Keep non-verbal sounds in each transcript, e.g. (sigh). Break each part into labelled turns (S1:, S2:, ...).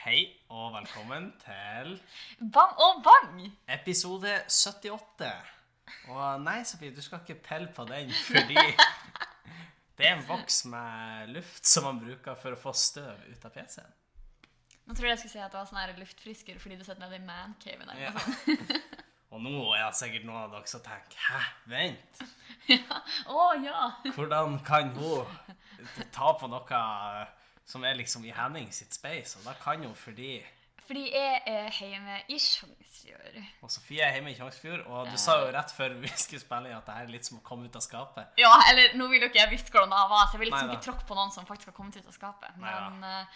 S1: Hei og velkommen til
S2: Bang og bang!
S1: episode 78. Og nei, Sofie, du skal ikke pelle på den, fordi det er en boks med luft som man bruker for å få støv ut av PC-en.
S2: Nå tror jeg jeg skulle si at det var sånn her luftfrisker fordi du satt ned i mancaven. eller
S1: Ja.
S2: noe sånt.
S1: Og nå er det sikkert noen av dere som tenker Hæ, vent,
S2: Å ja!
S1: hvordan kan hun ta på noe som er liksom i Henning sitt space? Og da kan hun fordi
S2: Fordi jeg er hjemme i Sjongsfjord.
S1: og Sofie er hjemme i Tjongsfjord, og du sa jo rett før vi skulle spille inn at det her er litt som å komme ut av skapet.
S2: Ja, eller nå vil jo ikke jeg visst hvordan det var, så jeg vil liksom
S1: Neida.
S2: ikke tråkke på noen som faktisk har kommet ut av skapet.
S1: Neida.
S2: Men eh,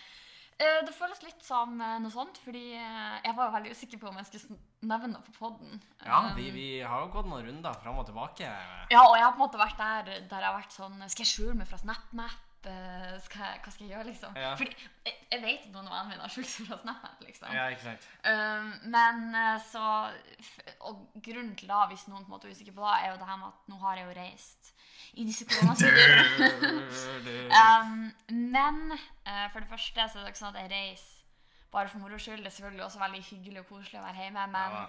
S2: eh, det føles litt som eh, noe sånt, fordi eh, jeg var jo veldig usikker på om jeg skulle sn- nevne det på podden.
S1: Ja,
S2: Um,
S1: vi, vi har jo gått noen runder fram og tilbake.
S2: Ja, og jeg har på en måte vært der der jeg har vært sånn Skal jeg skjule meg fra SnapMap? Eh, Skal jeg, hva skal jeg gjøre, liksom?
S1: Ja.
S2: Fordi jeg, jeg vet at noen av vennene mine har skjult seg fra SnapMap, liksom.
S1: Ja, ikke
S2: (laughs)
S1: sant?
S2: Um, men eh, så f- Og grunnen til da, hvis noen på en måte er usikker på det, er jo det her med at nå har jeg jo reist i disse koronastudiene. um, men eh, for det første så er det ikke sånn at jeg reiser bare for moro skyld. Det er selvfølgelig også veldig hyggelig og koselig å være hjemme, men
S1: Ja.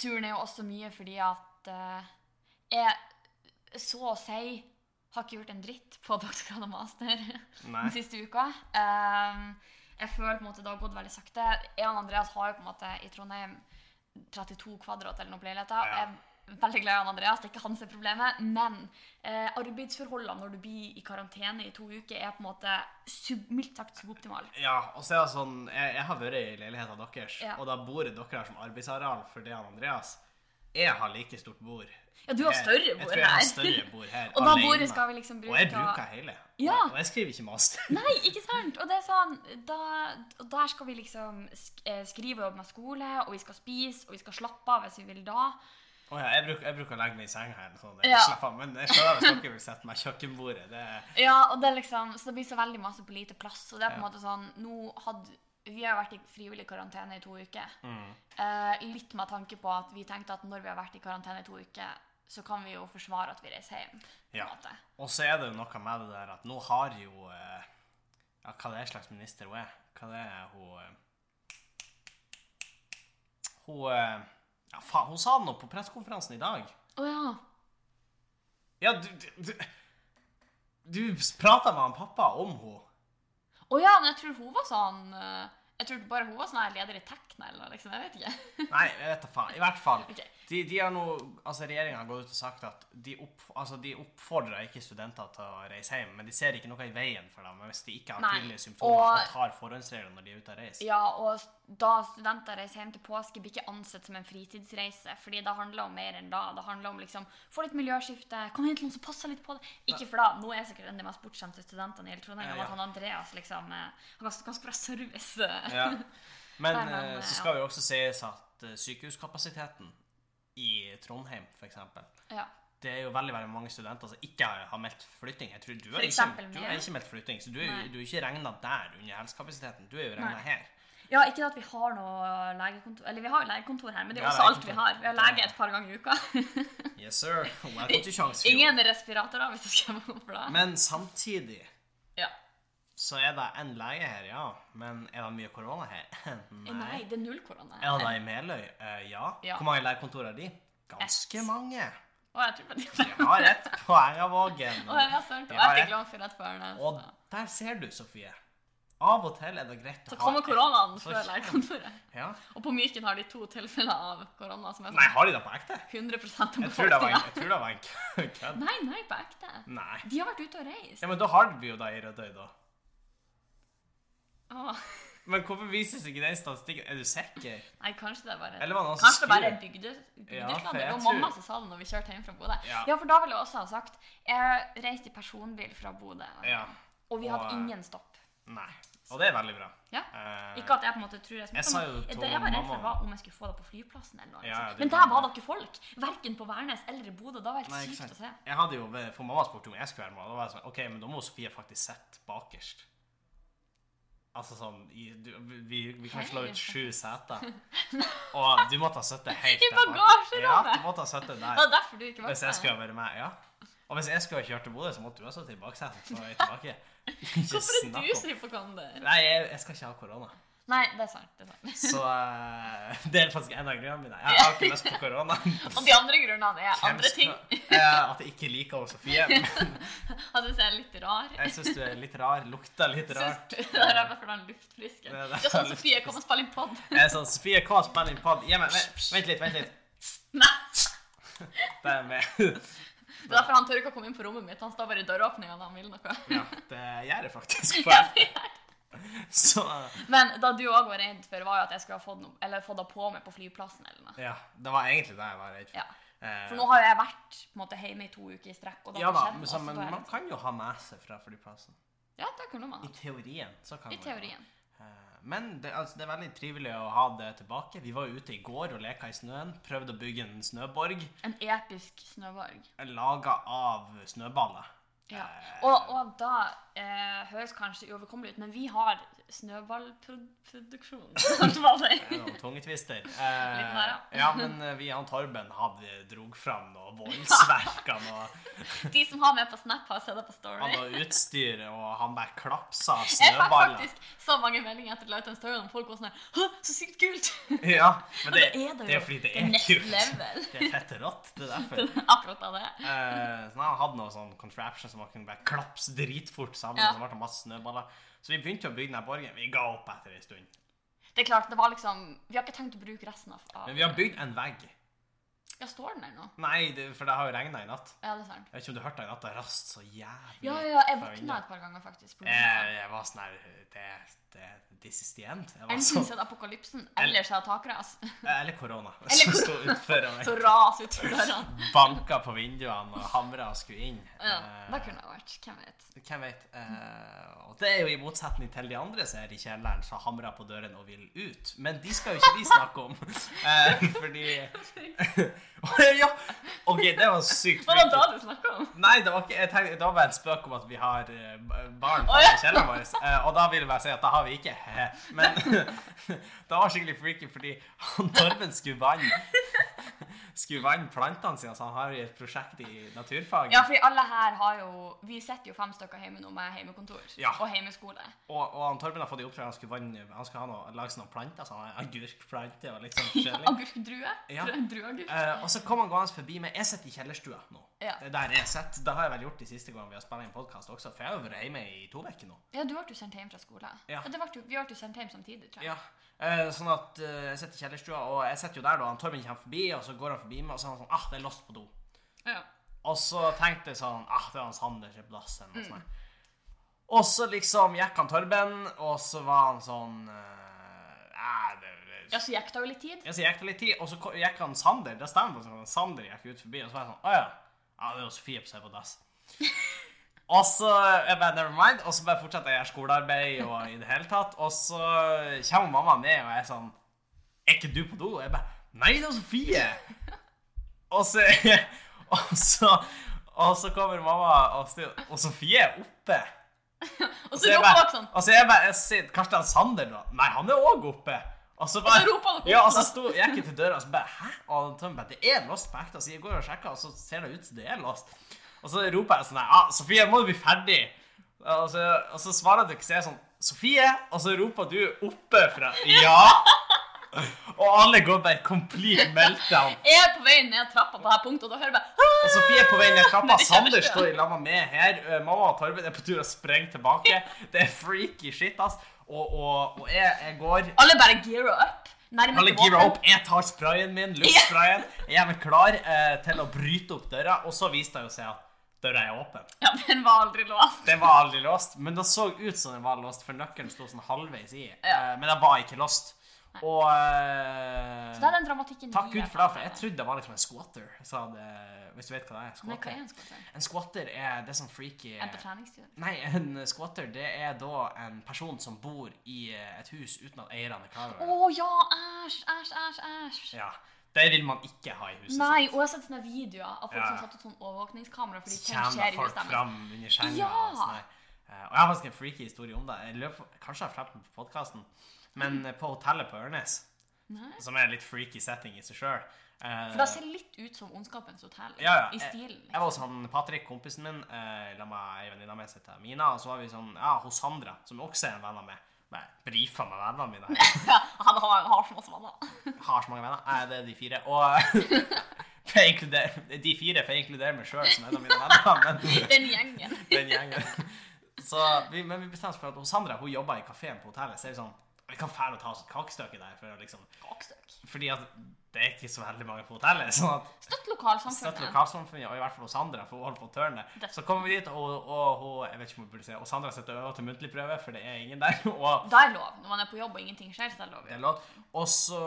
S2: turen er jo også mye fordi at eh, jeg så å si har ikke gjort en dritt på doktorgrad og master (laughs)
S1: Nei.
S2: den siste uka. Ehm, jeg føler på en måte det har gått veldig sakte. Jeg og Andreas har jo på en måte i Trondheim 32 kvadrat eller noen leiligheter.
S1: Ja.
S2: Jeg er veldig glad i han Andreas, det er ikke hans problemet. Men eh, arbeidsforholdene når du blir i karantene i to uker, er på en måte sub, mildt sagt suboptimale.
S1: Ja, og så er det sånn, jeg, jeg har vært i leiligheten deres,
S2: Ja.
S1: og da bordet dere har som arbeidsareal for det han Andreas, jeg har like stort bord.
S2: Ja, du har
S1: Jeg-
S2: større
S1: Jeg
S2: bord
S1: tror jeg har
S2: her.
S1: større bord her,
S2: (laughs) Og da
S1: alene.
S2: bordet skal vi liksom bruke
S1: Og jeg bruker hele.
S2: Ja.
S1: Og, og jeg skriver ikke master. (laughs)
S2: Nei, ikke sant? Og det er sånn, da, og der skal vi liksom sk eh, skrive og jobbe med skole, og vi skal spise, og vi skal slappe av hvis vi vil da.
S1: Å ja, jeg bruker, jeg bruker å legge meg i senga her, sånn, jeg
S2: Ja.
S1: slapper av. Men jeg skjønner hvis dere vil sette meg i kjøkkenbordet, det er...
S2: Ja, og det er liksom, så det blir så veldig masse på lite plass. Og det er på en
S1: Ja.
S2: måte sånn, nå hadde, Vi har vært i frivillig karantene i to uker. Eh, litt med tanke på at vi tenkte at når vi har vært i karantene i to uker, så kan vi jo forsvare at vi reiser hjem. på en
S1: Ja.
S2: måte.
S1: Og så er det jo noe med det der at nå har jo eh, Ja, hva det er slags minister hun er? Hva det er hun eh, Hun eh, Ja, faen, hun sa det nå på pressekonferansen i dag.
S2: Å ja.
S1: Ja, du Du, du, du prata med han pappa om henne.
S2: Å ja, men jeg tror hun var sånn eh, Jeg tror bare hun var sånn her leder i Tekna eller noe, liksom. Jeg vet ikke. (laughs)
S1: Nei, jeg vet da faen. I hvert fall.
S2: Ok.
S1: De, de har nå, altså Regjeringa har gått ut og sagt at de, opp, altså de oppfordrer ikke studenter til å reise hjem, men de ser ikke noe i veien for dem hvis de ikke har
S2: Nei,
S1: tydelige symptomer og,
S2: og-
S1: tar forhåndsregler når de er ute og reiser.
S2: Ja, og s- da studenter reiser hjem til påske, blir ikke ansett som en fritidsreise. Fordi det handler om mer enn da. Det handler om liksom, få litt miljøskifte, kom hjem til noen som passer litt på det. Ikke for da, nå er jeg sikkert en av de mest bortskjemte studentene i hele
S1: Ja,
S2: Trondheim. om
S1: ja.
S2: At han Andreas liksom, eh, han har ganske bra service. eh.
S1: Ja. Men
S2: Nei, men,
S1: eh,
S2: eh,
S1: så skal det jo også sies at eh, sykehuskapasiteten i Trondheim, for eksempel,
S2: Ja.
S1: det er jo veldig veldig mange studenter som ikke har, har meldt flytting. Jeg tror du
S2: For
S1: har, ikke,
S2: eksempel
S1: du
S2: meg.
S1: har ikke meldt flytting, så du er,
S2: Nei.
S1: jo- du er jo ikke regna der under helsekapasiteten. Du er jo regna
S2: Nei.
S1: her.
S2: ja, ikke det at vi har noe legekontor Eller vi har jo legekontor her, men det er
S1: Ja,
S2: jo også alt vi
S1: legekontor.
S2: har. Vi har lege et par ganger i uka.
S1: Yes,
S2: (laughs)
S1: sir. Welcome to Tjongsfjord.
S2: Ingen respiratorer, hvis jeg skal være noe for det.
S1: Men samtidig
S2: Ja.
S1: så er det en lege her, ja. Men er det mye korona her? (laughs)
S2: Nei, det er null korona.
S1: Er det i Meløy? Eh, ja.
S2: Ja.
S1: Hvor mange legekontor har de? Ganske
S2: Ett.
S1: mange.
S2: Å, jeg tror på det.
S1: Jeg har ett på Engavågen.
S2: Å, jeg er sant. Og
S1: Ja,
S2: jeg
S1: jeg-
S2: fikk lån for rett på Ørnes.
S1: Og
S2: så.
S1: der ser du, Sofie. Av og til er det greit
S2: Så kommer koronaen
S1: Så
S2: før
S1: kjem-
S2: legekontoret.
S1: Ja.
S2: Og på Myken har de to tilfeller av korona som er
S1: Nei,
S2: sånn
S1: har de det på ekte?
S2: 100 av
S1: Jeg tror det var
S2: befolkninga.
S1: en, jeg tror det var en kø- kødd. (laughs)
S2: Nei, nei, på ekte.
S1: Nei.
S2: De har vært ute og reist.
S1: Ja, men da har vi jo det i Rødøy, da.
S2: Åh.
S1: Men hvorfor vises ikke den statistikken? Er du sikker?
S2: Nei, kanskje det er bare
S1: Eller var det noen som
S2: Kanskje det bare er
S1: skrur?
S2: bygde,
S1: Ja, for
S2: bygdeslandet.
S1: jeg
S2: det var mamma
S1: tror-
S2: som sa det når vi kjørte hjem fra Bodø.
S1: Ja.
S2: Ja, for da ville jeg også ha sagt Jeg reiste i personbil fra Bodø,
S1: Ja.
S2: og vi
S1: Og,
S2: hadde
S1: eh,
S2: ingen stopp.
S1: Nei. Og det er veldig bra.
S2: Ja.
S1: Eh,
S2: Ikke at jeg på en måte tror jeg
S1: Jeg
S2: smitta,
S1: sa jo
S2: men
S1: til
S2: det jeg var redd
S1: mamma-
S2: for, var om jeg skulle få det på flyplassen. eller noe.
S1: Ja, ja,
S2: liksom.
S1: det
S2: Men
S1: kan
S2: der var
S1: være.
S2: dere folk. Verken på Værnes eller i Bodø. Da var det
S1: Nei,
S2: helt
S1: ikke sant.
S2: sykt å se.
S1: Jeg hadde jo, For mamma spurte om jeg skulle være med, og da var jeg sånn OK, men da må Sofie faktisk sitte bakerst. Altså sånn i, du, Vi, vi kan slå ut sju
S2: (laughs)
S1: seter. Og du måtte ha sittet helt
S2: I
S1: der bak.
S2: bagasjerommet.
S1: Ja, du måtte ha sittet
S2: Det
S1: der.
S2: var derfor du ikke var
S1: Hvis jeg skulle ha vært med, ja. Og hvis jeg skulle ha kjørt til Bodø, så måtte du ha sittet i baksetet på vei tilbake. Ikke
S2: Hvorfor er
S1: snakk
S2: du
S1: om.
S2: så hypokonder?
S1: Nei, jeg, jeg skal ikke ha korona.
S2: Nei, det er sant. det er sant.
S1: Så eh, det er faktisk en av grunnene mine. Jeg har ikke lyst på korona.
S2: Og de andre grunnene er
S1: Hvem
S2: andre ting.
S1: skal- Eh, at jeg ikke liker Åse Sofie.
S2: At du ser litt rar.
S1: Jeg syns du er litt rar. Lukter litt rart.
S2: Syns- (laughs) Det er bare for den luftfrisken.
S1: Det er
S2: Det
S1: det.
S2: er sånn Sofie kom og spilte inn pod.
S1: Jeg er sånn Sofie K spiller inn pod. Gi meg vent- Vent litt, vent litt.
S2: (laughs) Nei.
S1: Det er med. (laughs)
S2: Det er derfor han tør ikke å komme inn på rommet mitt. Han står bare i døråpninga når han vil noe. (laughs)
S1: Ja, det gjør jeg faktisk.
S2: Ja,
S1: På.
S2: det gjør.
S1: Så
S2: Men da du òg var redd for, var jo at jeg skulle ha fått, noe, eller fått det på meg på flyplassen. eller noe.
S1: ja, det var egentlig det jeg var redd for.
S2: Ja.
S1: Eh,
S2: For nå har jo jeg vært på en måte, hjemme i to uker i strekk. og da
S1: ja da,
S2: skjedde
S1: men,
S2: det,
S1: så,
S2: så
S1: men
S2: da er jeg
S1: man
S2: redd.
S1: kan jo ha med seg fra flyplassen.
S2: Ja, det kunne man.
S1: I teorien. så kan
S2: I
S1: man jo ha.
S2: teorien.
S1: Eh, Men det, altså, det er veldig trivelig å ha det tilbake. Vi var jo ute i går og leka i snøen. Prøvde å bygge en snøborg
S2: En episk snøborg.
S1: laga av snøballer.
S2: Ja.
S1: Eh,
S2: Og, og da eh, høres kanskje uoverkommelig ut, men vi har
S1: (laughs)
S2: snøballproduksjon. Alt var det.
S1: Det er noen tungetwister. Eh,
S2: (laughs) Litt mer, ja.
S1: ja, men eh, vi han Torben hadde drog fram noe
S2: (laughs)
S1: voldsverk han og,
S2: De som har med på Snap, har sett det på
S1: han
S2: (laughs) Story.
S1: og utstyr, og han bare klapsa
S2: Jeg fikk
S1: snøballer.
S2: faktisk så mange meldinger etter at jeg la ut den storyen om folk var sånn her Hå, så sykt
S1: (laughs)
S2: kult!
S1: Ja, men
S2: Og
S1: det,
S2: det er det jo.
S1: det er jo fordi det
S2: Det er
S1: er
S2: next
S1: kult.
S2: level.
S1: (laughs) Det er fett rått. Det er derfor.
S2: (laughs) Akkurat av det.
S1: Eh, så han hadde noe sånn contraption som man kunne bare klapse dritfort sammen.
S2: Ja.
S1: Og så ble det masse snøballer. Så vi begynte å bygge den her borgen. Vi ga opp etter en stund.
S2: Det er klart, det var liksom Vi har ikke tenkt å bruke resten av av-
S1: Men vi har bygd en vegg.
S2: Ja, står den der nå?
S1: Nei, det, for det har jo regna i natt.
S2: Ja, det er sant.
S1: Jeg vet ikke om du hørte det i natt, det rast så jævlig.
S2: Ja, ja,
S1: fra
S2: jeg våkna
S1: vinduet.
S2: et par ganger, faktisk. på grunn av
S1: Jeg, jeg var sånn her det, det, This is the end. Jeg var
S2: Enten
S1: sånn,
S2: sett apokalypsen, eller så er det takras.
S1: eller korona.
S2: Eller
S1: Som sto utfor og
S2: Så ras ut dørene.
S1: banka på vinduene og hamra og skulle inn.
S2: Ja,
S1: Eh,
S2: det kunne det vært. Hvem vet.
S1: Hvem vet. eh, og det er jo i motsetning til de andre som er i kjelleren som hamrer på døren og vil ut. Men de skal jo ikke vi snakke om. Eh, fordi
S2: (laughs)
S1: (laughs) Ja! OK, det var sykt.
S2: Hva var
S1: freaky.
S2: det da du snakka om?
S1: Nei, det var ikke jeg tenkte, Det var bare en spøk om at vi har eh, barn
S2: Å, ja.
S1: i kjelleren vår. eh, og da vil jeg bare si at det har vi ikke. (laughs) Men det var skikkelig freaky fordi han Torben skulle vanne skulle vanne plantene sine, så han har jo et prosjekt i naturfag.
S2: Ja, fordi alle her har jo Vi sitter jo fem stykker hjemme nå med hjemmekontor
S1: Ja.
S2: og hjemmeskole.
S1: Og, og han Torben har fått i oppdrag at han skulle vanne, han skal ha noe, lage seg noen planter. sånn Så han har agurkplanter og litt sånn forskjellig.
S2: Agurkdrue.
S1: Ja.
S2: Tror jeg Drueagurk.
S1: Eh, og så kom han gående forbi meg. Jeg sitter i kjellerstua nå.
S2: Ja.
S1: Det er der jeg sitter. Det har jeg vel gjort de siste gangene vi har spilt inn podkast også, for jeg har jo vært hjemme i to uker nå.
S2: Ja, du ble jo sendt hjem fra skole.
S1: Ja.
S2: Og det ble, jo- vi ble jo sendt hjem samtidig, tror jeg.
S1: Ja. Eh, sånn at eh, jeg sitter i kjellerstua, og jeg sitter jo der da han Torben kommer forbi, og så går han forbi meg, og så er han sånn Ah, det er låst på do.
S2: Ja.
S1: Og så tenkte jeg sånn Ah, det var hans Anders i plassen. Og, sånn. og så liksom gikk han Torben, og så var han sånn eh, «Eh, det,
S2: ja, så gikk det jo litt tid.
S1: Ja, så gikk det litt tid, og så ko- gikk han Sander. Det stemmer. på sånn. Sander gikk ut forbi, og så var jeg sånn Å ja. ja det er jo Sofie på seg på dass. og så jeg bare never mind, og så bare fortsetter jeg å gjøre skolearbeid og i det hele tatt. Og så kommer mamma ned og jeg er sånn Er ikke du på do? Og jeg bare Nei, det er Sofie! og så (laughs) Og så og så kommer mamma og sier Og Sofie er oppe.
S2: Og
S1: Så
S2: så
S1: jeg
S2: roper
S1: bare,
S2: dere sånn.
S1: og så jeg bare jeg sier, Karsten Sander nå? Nei, han er òg oppe. Og så, bare,
S2: Og så roper han opp.
S1: ja, og så sto, jeg gikk jeg til døra og så bare Hæ? Og Tom bare Det er låst på ekte. Så jeg går og sjekker, og så ser det ut som det er låst. Og så roper jeg sånn her ah, Sofie, må du bli ferdig? Og så, og så svarer du ikke, så jeg er sånn Sofie? Og så roper du oppe fra Ja! Og alle går bare complete meltdown.
S2: Jeg er på vei ned trappa på det her punktet, og da hører jeg bare «Ah!»
S1: Og Sofie er på vei ned trappa.
S2: Nei, det skjønner
S1: Sander
S2: ikke.
S1: står i lamma med her. Eh, Mamma og Torben er på tur og sprenger tilbake. Det er freaky shit, ass. Og, og, og jeg, jeg går
S2: Alle bare gearer up. Nærmest
S1: Alle
S2: til
S1: giver
S2: våpen.
S1: opp. Jeg tar sprayen min, luftsprayen. Jeg er vel klar eh, til å bryte opp døra, og så viste det jo seg at døra er åpen.
S2: Ja, den var aldri låst.
S1: Den var aldri låst, men det så ut som den var låst, for nøkkelen sto sånn halvveis i.
S2: Ja.
S1: Eh, Men den var ikke låst. Og eh,
S2: Så det er den dramatikken
S1: Takk
S2: vi
S1: Gud
S2: er
S1: for det,
S2: fan
S1: for jeg
S2: av.
S1: trodde det var liksom en squatter. Sa det, hvis du vet hva det er.
S2: Nei, hva
S1: Squatter.
S2: er en skotter?
S1: En squatter er det som freaky
S2: En på treningstur?
S1: Nei, en squatter det er da en person som bor i eh, et hus uten at eierne er klar
S2: Å
S1: over det.
S2: ja, æsj, æsj, æsj, æsj.
S1: Ja, det vil man ikke ha i huset
S2: Nei, og jeg har sett sånne videoer av folk
S1: Ja.
S2: som satt ut sånn overvåkningskamera fordi
S1: Så
S2: ting
S1: kommer
S2: skjer
S1: det
S2: i
S1: folk
S2: huset deres.
S1: fram under senga.
S2: Ja!
S1: Og, sånn her. Eh, og jeg har faktisk en freaky historie om det. Jeg lurer på, kanskje jeg har fortalt den på podkasten. Men eh, på hotellet på Ørnes,
S2: Nei.
S1: som er en litt freaky setting i seg eh, sjøl
S2: For det ser litt ut som Ondskapens hotell
S1: Ja, ja.
S2: i stilen. liksom. (laughs)
S1: Jeg var hos han Patrick, kompisen min, eh, la meg ei venninne med seg til Mina, og så var vi sånn, ja, hos Sandra, som også er en venn av meg. Nei, brifa med vennene mine. her.
S2: (laughs) Han har, har så masse
S1: (laughs)
S2: venner.
S1: Jeg Har så mange venner. Jeg, det er de fire. Og (laughs) for å inkludere- de fire får jeg inkludere meg sjøl som en av mine venner. Men
S2: Den gjengen.
S1: den gjengen. Så, vi, men vi bestemte oss for at hun Sandra hun jobba i kafeen på hotellet. Så er det sånn Vi kan fæle og ta oss et kakestykke der. For å liksom,
S2: Bakstøk.
S1: fordi at det er ikke så veldig mange på hotellet. Sånn at
S2: Støtt
S1: støtt
S2: lokalsamfunnet.
S1: lokalsamfunnet, og i hvert fall hos Sandra, for hun holder på å tørne. Så kommer vi dit, og, og, hun Jeg vet ikke om hun burde si det, og Sandra sitter og øver til muntlig prøve, for det er ingen der. (laughs) Og
S2: Da er lov. Når man er på jobb og ingenting skjer, så er det lov.
S1: Det er lov. Og så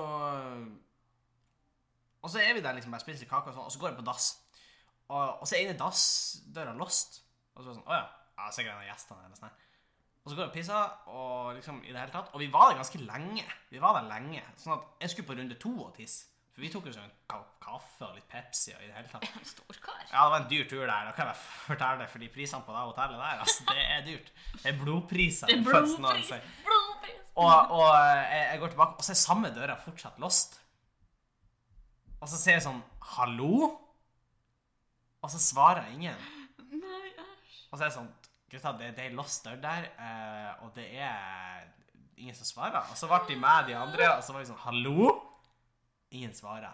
S1: Og så er vi der liksom bare spiser kake og sånn, og så går jeg på dass. Og, og så er ene dassdøra låst. Og så er det sånn Å ja. ja det er sikkert en av gjestene eller sånn. her. Og så går jeg og pisser, og liksom i det hele tatt. Og vi var der ganske lenge. Vi var der lenge. Sånn at jeg skulle på runde to og tisse. For vi tok jo sånn ka kaffe og litt Pepsi og i det hele tatt.
S2: En (laughs) stor kar.
S1: Ja, det var en dyr tur der. Da kan jeg f- fortelle det, fordi prisene på det hotellet der, altså, det er dyrt. Det er blodpriser.
S2: Det er
S1: føles det noen
S2: blodpris.
S1: sier.
S2: Blodpris.
S1: Og, og eh, jeg, jeg går tilbake, og så er samme døra fortsatt låst. Og så sier jeg sånn Hallo? Og så svarer ingen.
S2: Nei, æsj.
S1: Og så er jeg sånn Gutta, det, det er låst dør der, eh, og det er ingen som svarer. Og så ble de med de andre, og så var vi sånn Hallo? Ingen svarer.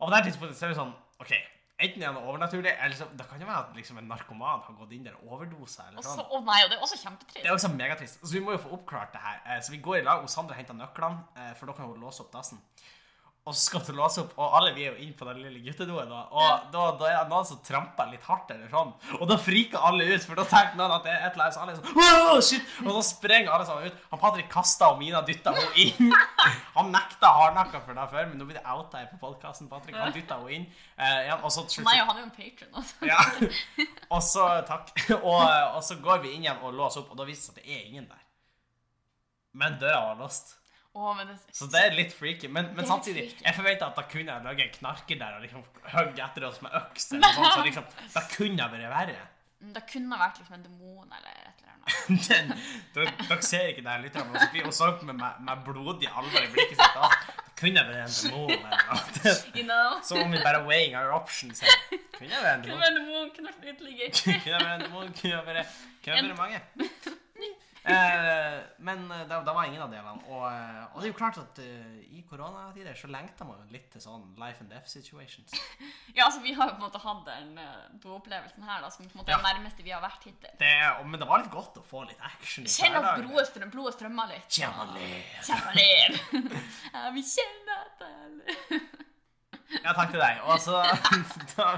S1: Og på det her tidspunktet så er vi sånn OK, enten er det noe overnaturlig, eller så Det kan jo være at liksom en narkoman har gått inn der og overdosa, eller
S2: Og så,
S1: sånn.
S2: å nei, og det er også kjempetrist.
S1: Det er også megatrist. Så vi må jo få oppklart det her. Eh, Så vi går i lag, og Sandra henter nøklene, eh, for da kan hun låse opp dassen. Og så skal hun låse opp, og alle vi er jo inne på den lille guttedoen, da. Og da, da er det noen som tramper litt hardt, eller sånn. Og da friker alle ut, for da tenker noen at det er et eller annet, så alle er sånn «Åh, shit! Og da sprenger alle sammen ut. Han Patrick kasta og Mina dytta henne
S2: (laughs)
S1: inn. Han nekta hardnakka for det før, men nå blir det outa her på podkasten, Patrick. Han dytta henne inn. Eh, igjen, og så til slutt så
S2: Nei, og han er jo en patron, altså.
S1: ja. Og så takk. Og, og så går vi inn igjen og låser opp, og da viser det seg at det er ingen der. Men døra var låst.
S2: (laughs) Å, men det,
S1: Så det er litt freaky. Men, men
S2: litt
S1: samtidig,
S2: freaky.
S1: jeg forventa at da kunne jeg lage en knarker der og liksom hogge etter oss med øks. Eller noe sånt, så liksom, da kunne det vært verre. (laughs)
S2: det kunne vært liksom en demon eller et eller annet.
S1: Den, dere, dere ser ikke det her lytterne, men Sofie hun så på meg med, med blodig alvor i blikket sitt. da. Det kunne vært en demon eller noe. (laughs)
S2: You know?
S1: Så om vi bare weighing our options her Kunne det vært en demon?
S2: Hvem er demon? Kunne vært intelligent.
S1: Køvere, køvere mange. Eh, men eh, da, da var ingen av delene. Og, eh, og det er jo klart at eh, i koronatider så lengter man jo litt til sånn life and death situations.
S2: Ja, altså, vi har jo på en måte hatt den eh, doopplevelsen her, da, som på en måte er
S1: Ja.
S2: det nærmeste vi har vært hittil.
S1: Det, og- men det var litt godt å få litt action i
S2: Kjenn at
S1: hverdagen.
S2: blodet strøm, blodet strømmer litt.
S1: Kjenn at blodet-
S2: Kjenn at (laughs) liv. Ja, vi kjenner at det er liv.
S1: Ja, takk til deg. Og så (laughs) da-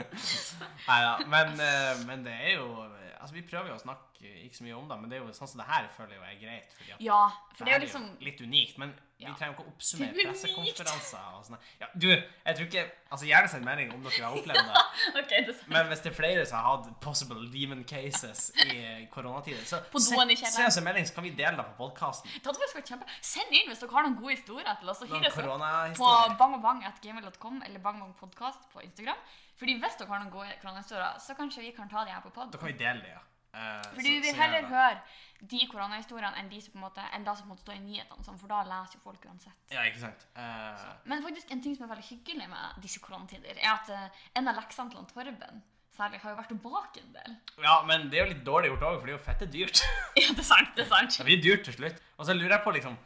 S1: Nei da. Men, eh, men det er jo Altså, vi prøver jo å snakke ikke så mye om det, men det er jo sånn som det her føler jeg jo er greit. Fordi at
S2: (laughs) Ja, for det er jo
S1: her
S2: liksom
S1: litt unikt, men vi
S2: Ja.
S1: trenger jo ikke å oppsummere
S2: Det er unikt.
S1: pressekonferanser og sånn. Ja, du, jeg tror ikke Altså, gjerne send melding om dere har opplevd det,
S2: (laughs) OK, det er
S1: men hvis det er flere som har hatt possible demon cases i koronatider, så
S2: På doen i kjelleren.
S1: send oss en melding, så kan vi dele det på podkasten.
S2: Det hadde faktisk vært kjempe... Send inn hvis dere har noen gode historier til oss. og hyr
S1: Noen
S2: oss opp. på
S1: koronahistorier.
S2: bangogbang.gmail.com eller bangogbangpodkast på Instagram. Fordi hvis dere har noen gode koronahistorier, så kanskje vi kan ta de her på pod.
S1: Da kan vi dele det, ja. Eh, så-
S2: Fordi
S1: så
S2: vi vil
S1: gjør
S2: heller
S1: det.
S2: høre de koronahistoriene enn de som på en måte, enn det som på en måte står i nyhetene, sånn, for da leser jo folk uansett.
S1: Ja, ikke sant. Eh,
S2: Men faktisk en ting som er veldig hyggelig med disse koronatider, er at eh, en av leksene til han Torben særlig har jo vært å bake en del.
S1: ja, men det er jo litt dårlig gjort òg, for det er jo fette dyrt.
S2: (laughs)
S1: (laughs)
S2: Ja, det er sant, det er sant.
S1: Det blir dyrt til slutt. Og så lurer jeg på liksom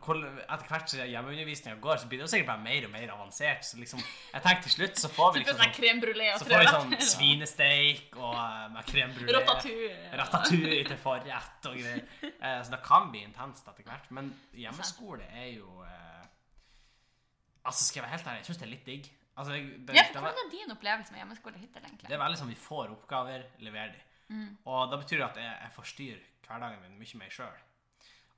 S1: hvor, Etter hvert som hjemmeundervisninga går, så blir det jo sikkert bare mer og mer avansert. Så liksom, jeg tenker til slutt så får vi liksom sånn,
S2: crème brulé og
S1: så får vi sånn
S2: trøyt.
S1: svinesteik og eh, med crème brulé.
S2: Ratatouille.
S1: Ratatouille til forrett og (laughs) greier. Eh, Så det kan bli intenst etter hvert. Men hjemmeskole er jo eh, Altså, skal jeg være helt ærlig, jeg syns det er litt digg. Altså, jeg- det,
S2: Ja, for
S1: det,
S2: hvordan er din opplevelse med hjemmeskole hittil, egentlig?
S1: det er veldig sånn vi får oppgaver, leverer de.
S2: Mm.
S1: Og da betyr det at jeg, jeg forstyrrer hverdagen min mye mer sjøl.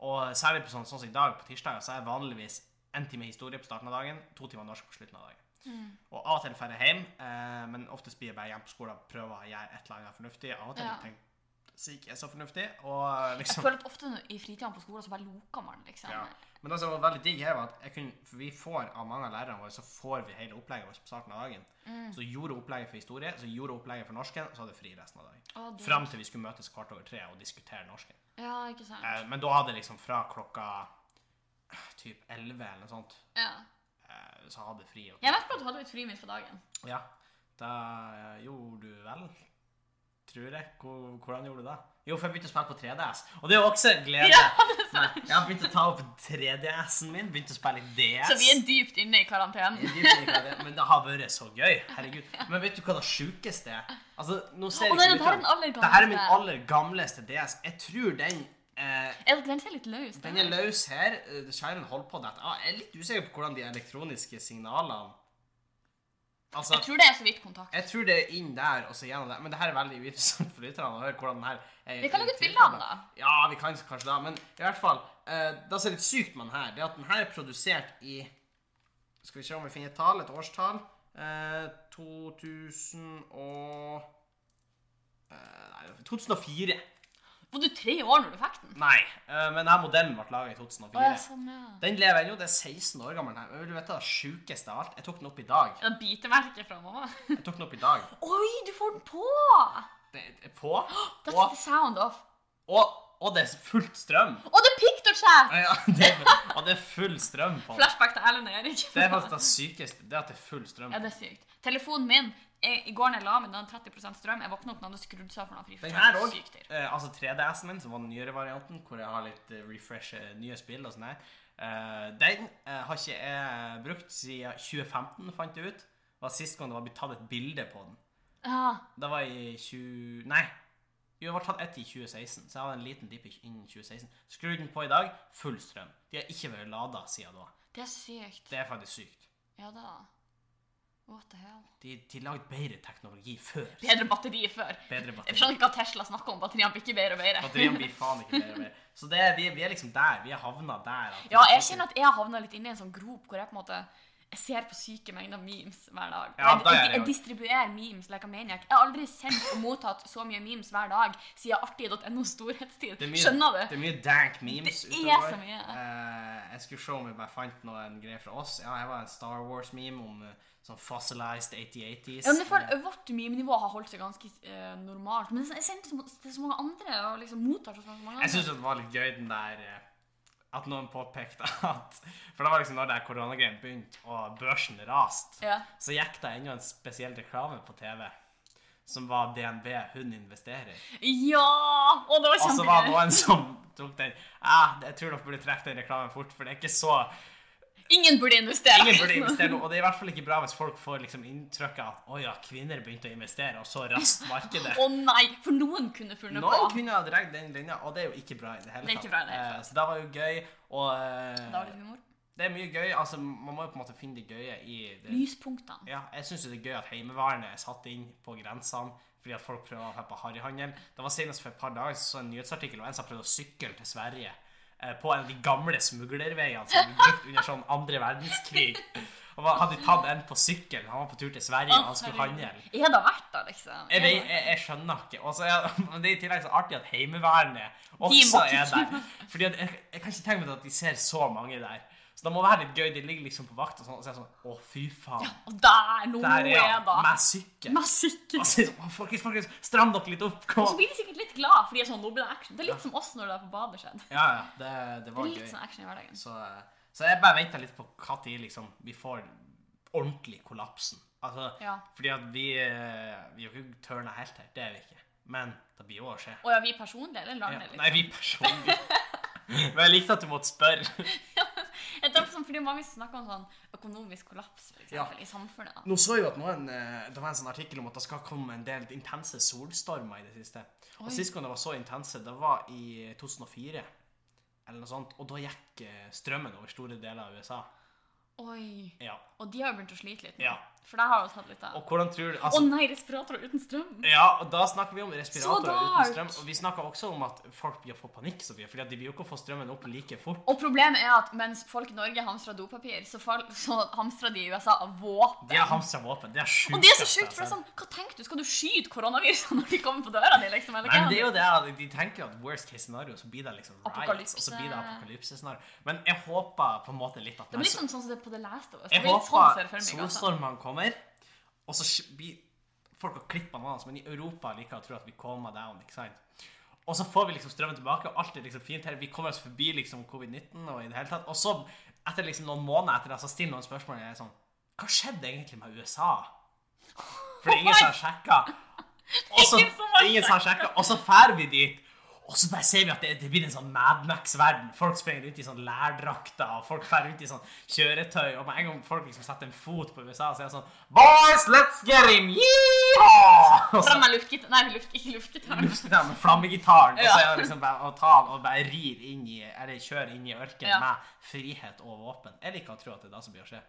S1: Og særlig på sånn, sånn som i dag, på tirsdager, så er jeg vanligvis en time historie på starten av dagen, to timer norsk på slutten av dagen.
S2: Mm.
S1: Og av og til drar jeg hjem, eh, men oftest blir jeg bare hjemme på skolen og prøver å gjøre et eller annet fornuftig. Av og til
S2: Ja.
S1: tenker jeg ikke er så fornuftig,
S2: (laughs)
S1: og
S2: Jeg
S1: liksom
S2: føler at ofte når- i fritiden på skolen så bare loker man, liksom.
S1: ja. Men det som var veldig digg her, var at jeg kunne, for vi får av mange av lærerne våre, så får vi hele opplegget vårt på starten av dagen.
S2: Mm.
S1: Så gjorde opplegget for historie, så gjorde opplegget for norsken, så hadde jeg fri resten av dagen.
S2: Å, det-
S1: Fram til vi skulle møtes kvart over tre og diskutere norsken.
S2: Ja, ikke sant?
S1: Eh, Men da hadde jeg liksom fra klokka eh, typ 11 eller noe sånt,
S2: Ja.
S1: eh, så hadde jeg fri. Og,
S2: Jeg vet bare at du hadde litt fri midt på dagen.
S1: Ja. Da eh, gjorde du vel, tror jeg. Hvor- Hvordan gjorde du det? Jo, for jeg begynte å spille på 3DS, og det er jo også en glede.
S2: (laughs) Ja, det er
S1: Nei, jeg har begynt å ta opp 3DS-en min, begynt å spille i DS.
S2: Så vi er dypt inne i karantenen. (laughs)
S1: Jeg dyper ikke av det, Men det har vært så gøy. Herregud. Men vet du hva det sjukeste er? Altså, nå ser jeg
S2: Å, nei,
S1: ikke
S2: det her er
S1: ut
S2: den
S1: av-
S2: aller
S1: Det her er min
S2: gamleste.
S1: aller gamleste DS. Jeg tror den eh,
S2: Er det- Den ser litt løs ut.
S1: den er løs her. Eh, Skjermen holder på dette. Ah, jeg er litt usikker på hvordan de elektroniske signalene Altså,
S2: Jeg tror det er så vidt kontakt.
S1: jeg tror det er inn der og så gjennom der. Men det her er veldig uinteressant for lytterne å høre hvordan den her er.
S2: Vi kan lage et
S1: til-
S2: bilde av den, da.
S1: Ja, vi kan kanskje det. Men i hvert fall eh, Det som er litt sykt med den her, det er at den her er produsert i Skal vi se om vi finner et tall, et årstall. Eh, 2000 og eh, Nei, 2004.
S2: Var du tre år når du fikk den?
S1: Nei, eh, men denne modellen ble laga i 2004.
S2: Å ja, sånn, ja.
S1: Den lever ennå. Det er 16 år gammel. den her. Men vil du vite det sjukeste av alt? Jeg tok den opp i dag.
S2: Ja, det bitemerket fra mamma.
S1: Jeg tok den opp i dag.
S2: (laughs) Oi, du får den på!
S1: Det er på.
S2: That's
S1: Og,
S2: the sound of.
S1: og, og det er fullt strøm.
S2: Og det er picture chat!
S1: Ja, det er, og det er full strøm på den.
S2: Flashback til Erlend og Erik.
S1: Det er faktisk det sykeste. Det er at det er full strøm.
S2: Ja, det er sykt. Telefonen min jeg, I går da jeg la meg, den hadde 30 strøm. Jeg våkna opp, den hadde skrudd seg av for den hadde fri
S1: Den
S2: fortsatt.
S1: her òg.
S2: Sykt dyr.
S1: Eh, altså 3DS-en min, som var den nyere varianten, hvor jeg har litt eh, refresh eh, nye spill og sånn her. Eh, den eh, har ikke jeg brukt siden 2015, fant jeg ut. Det var sist gang det var blitt tatt et bilde på den.
S2: Ja.
S1: Det var i 20... Nei. Jo, det var tatt ett i 2016, så jeg hadde en liten dipp i- innen 2016. Skru den på i dag, full strøm. De har ikke vært lada siden da.
S2: Det er sykt.
S1: Det er faktisk sykt.
S2: Ja da. What the hell?
S1: De, de lagde bedre teknologi før.
S2: Bedre batteri før.
S1: Bedre
S2: Jeg
S1: batteri.
S2: skjønner ikke hva Tesla snakker om. Batteriene blir ikke bedre og bedre.
S1: Batteriene blir faen ikke bedre og bedre. Så det, er- vi, er- vi er liksom der. Vi er havna der. at-
S2: Ja, jeg kjenner at jeg har havna litt inne i en sånn grop hvor jeg på en måte jeg ser på syke mengder memes hver dag.
S1: Ja,
S2: jeg,
S1: da er
S2: jeg,
S1: det
S2: jeg
S1: jo.
S2: distribuerer memes like a maniac. Jeg har aldri sendt og mottatt så mye memes hver dag siden artig.no storhetstid.
S1: Det er mye-
S2: Skjønner du?
S1: Det er mye dank memes
S2: Det er så mye.
S1: Eh, jeg skulle se om jeg bare fant noen greier fra oss. Ja, jeg var en Star Wars-meme om eh, sånn fossilized 8080s.
S2: Ja, men jeg føler Vårt meme-nivå har holdt seg ganske eh, normalt. Men jeg sender til så- til så mange andre og liksom mottar så mange andre.
S1: Jeg syns det var litt gøy den der eh, At noen påpekte (laughs) at For det var liksom når det her koronagreien begynte og børsen raste,
S2: Ja.
S1: så gikk det ennå en spesiell reklame på TV som var DNB hun investerer.
S2: ja! Å, det var
S1: Og så Altså, var det
S2: kjempegøy.
S1: noen som tok den ah, Jeg tror dere burde trekke den reklamen fort, for det er ikke så
S2: Ingen burde investere.
S1: Ingen burde investere nå. Og det er i hvert fall ikke bra hvis folk får liksom inntrykk av at å ja, kvinner begynte å investere, og så rast markedet.
S2: Å nei, for noen kunne funnet
S1: Noen
S2: på.
S1: kunne ha dratt den linja, og det er jo ikke bra i det hele
S2: Det er ikke bra i det hele
S1: Eh, Så det var jo gøy, og eh,
S2: Da var det humor.
S1: det er mye gøy. Altså, man må jo på en måte finne det gøye i det.
S2: Lyspunktene.
S1: Ja, jeg syns det er gøy at Heimevernet er satt inn på grensene fordi at folk prøver å ha på harryhandel. Det var senest for et par dager så en nyhetsartikkel om en som prøvde å sykle til Sverige eh, på en av de gamle smuglerveiene som ble brukt under sånn andre verdenskrig. Og man hadde tatt en på sykkel. Han var på tur til Sverige, og han skulle handle.
S2: Er det verdt det,
S1: Jeg,
S2: liksom? Er det
S1: vet, jeg, jeg skjønner ikke. Og så er det- men det (laughs) er i tillegg så artig at Heimevernet også
S2: må ikke
S1: er der. Fordi at jeg, jeg kan ikke tenke meg at de ser så mange der. Så det må være litt gøy. De ligger liksom på vakt og sånn, og så er det sånn Å, fy faen.
S2: Og der, nå
S1: Der er
S2: er
S1: han.
S2: det
S1: Med sykkel.
S2: Med
S1: (laughs)
S2: sikkert.
S1: Og så er det sånn, «Å, Folkens, folkens, stram dere litt opp.
S2: Og så
S1: Kom.
S2: blir de sikkert litt glad, fordi det er sånn, nå blir det action. Det er litt som oss når du er på badet skjedd. Det
S1: Ja, ja. Det, det var
S2: er litt
S1: gøy.
S2: sånn action i hverdagen.
S1: Så, eh, så jeg bare venter litt på hva tid liksom, vi får ordentlig kollapsen. Altså,
S2: Ja.
S1: Fordi at vi, eh, vi er jo ikke tørna helt her. Det er vi ikke. Men det blir jo å skje.
S2: Og ja, vi personlige,
S1: Ja,
S2: eller landet, liksom.
S1: nei, vi
S2: (laughs)
S1: personlig. Men jeg likte at du måtte spørre.
S2: Jeg tenker sånn, fordi det er mange som snakker om sånn økonomisk kollaps, for eksempel, i samfunnet. da.
S1: Nå så jeg jo at noen, eh, Det var en sånn artikkel om at det skal komme en del intense solstormer i det siste.
S2: Oi.
S1: Og Sist gang det var så intense, det var i 2004, eller noe sånt. Og da gikk eh, strømmen over store deler av USA.
S2: Oi.
S1: Ja.
S2: Og de har jo begynt å slite litt nå.
S1: Ja.
S2: For det har jo tatt litt av.
S1: Og hvordan tror du
S2: Å
S1: altså,
S2: nei, respiratorer uten strøm.
S1: Ja, og da snakker vi om
S2: Så
S1: respiratorer
S2: dark.
S1: uten strøm. Og vi snakker også om at folk blir å få panikk så mye, fordi at de vil jo ikke få strømmen opp like fort.
S2: Og problemet er at mens folk i Norge hamstrer dopapir, så, fal- så hamstrer de i USA våpen.
S1: De har hamstra våpen. Det er sjukt.
S2: Og det er så
S1: altså.
S2: sjukt, for det er sånn, hva tenker du? Skal du skyte koronaviruset (laughs) når de kommer på døra di, liksom? Eller
S1: Nei, men det er
S2: hva?
S1: jo det at De tenker at worst case scenario, så blir det liksom riots,
S2: Apokalypse.
S1: og så blir det apokalypsescenario. Men jeg håper på en måte litt at
S2: Det blir liksom sånn som det er på The Last of Us.
S1: altså,
S2: Det
S1: Jeg
S2: blir litt sånn
S1: håper
S2: ser jeg for meg, altså.
S1: solstormene kommer, og så sk- blir folk har klippet bananer, men i Europa liker å tro at vi kommer down, ikke sant? Og så får vi liksom strømmen tilbake, og alt er liksom fint her. Vi kommer oss forbi liksom covid-19 og i det hele tatt. Og så, etter liksom noen måneder etter det, så stiller noen spørsmål og jeg er sånn Hva skjedde egentlig med USA?
S2: (laughs)
S1: For det er ingen som har sjekka. Og så
S2: Oh Ingen som har
S1: ingen som har sjekket, og så drar vi dit. Og så bare ser vi at det, det blir en sånn Mad Max-verden. Folk springer rundt i sånn lærdrakter, og folk fer rundt i sånn kjøretøy. Og med en gang folk liksom setter en fot på USA, så er det sånn Boys, let's get him! Yeehaw! Og så
S2: Fram med luftgitar... Nei, luft, ikke luftgitar.
S1: lufter de med flammegitaren, og så
S2: Ja.
S1: er det liksom bare å ta den og bare rir inn i Eller kjøre inn i ørkenen
S2: Ja.
S1: med frihet og våpen. Jeg liker å tro at det er det som blir å skje.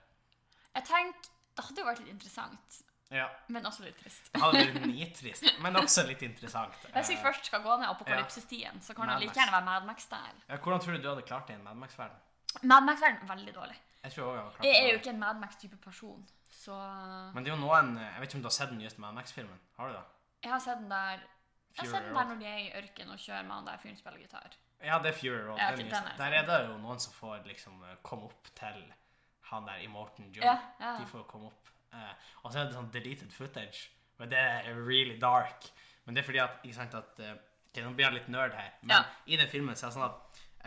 S2: Jeg tenker, Det hadde jo vært litt interessant,
S1: Ja.
S2: men også litt trist.
S1: Det hadde vært nitrist, men også litt interessant.
S2: Hvis vi
S1: Eh,
S2: først skal gå ned apokalypsestien, så kan
S1: Mad
S2: det like
S1: Max.
S2: gjerne være Mad Max der.
S1: ja, Hvordan tror du du hadde klart det i en Mad Max-verden?
S2: Mad Max-verden er veldig dårlig.
S1: Jeg tror også jeg hadde klart
S2: Jeg er jo
S1: det.
S2: ikke en Mad Max-type person, så
S1: Men det er jo noen Jeg vet ikke om du har sett den nyeste Mad Max-filmen? Har du det?
S2: Jeg har sett den der Jeg har sett den
S1: Road.
S2: der når de er i ørkenen og kjører med han der fyren som spiller gitar.
S1: Ja, det er Fury Road.
S2: Ja,
S1: den
S2: ok,
S1: nyeste.
S2: den er-
S1: Der er det jo noen som får liksom eh, komme opp til han der Immortan Joe.
S2: Ja, ja.
S1: De får komme opp. Eh, og så er det sånn deleted footage, men det er really dark. Men det er fordi at ikke sant, at eh, ok, Nå blir jeg litt nerd her, men
S2: Ja.
S1: i den filmen så er det sånn at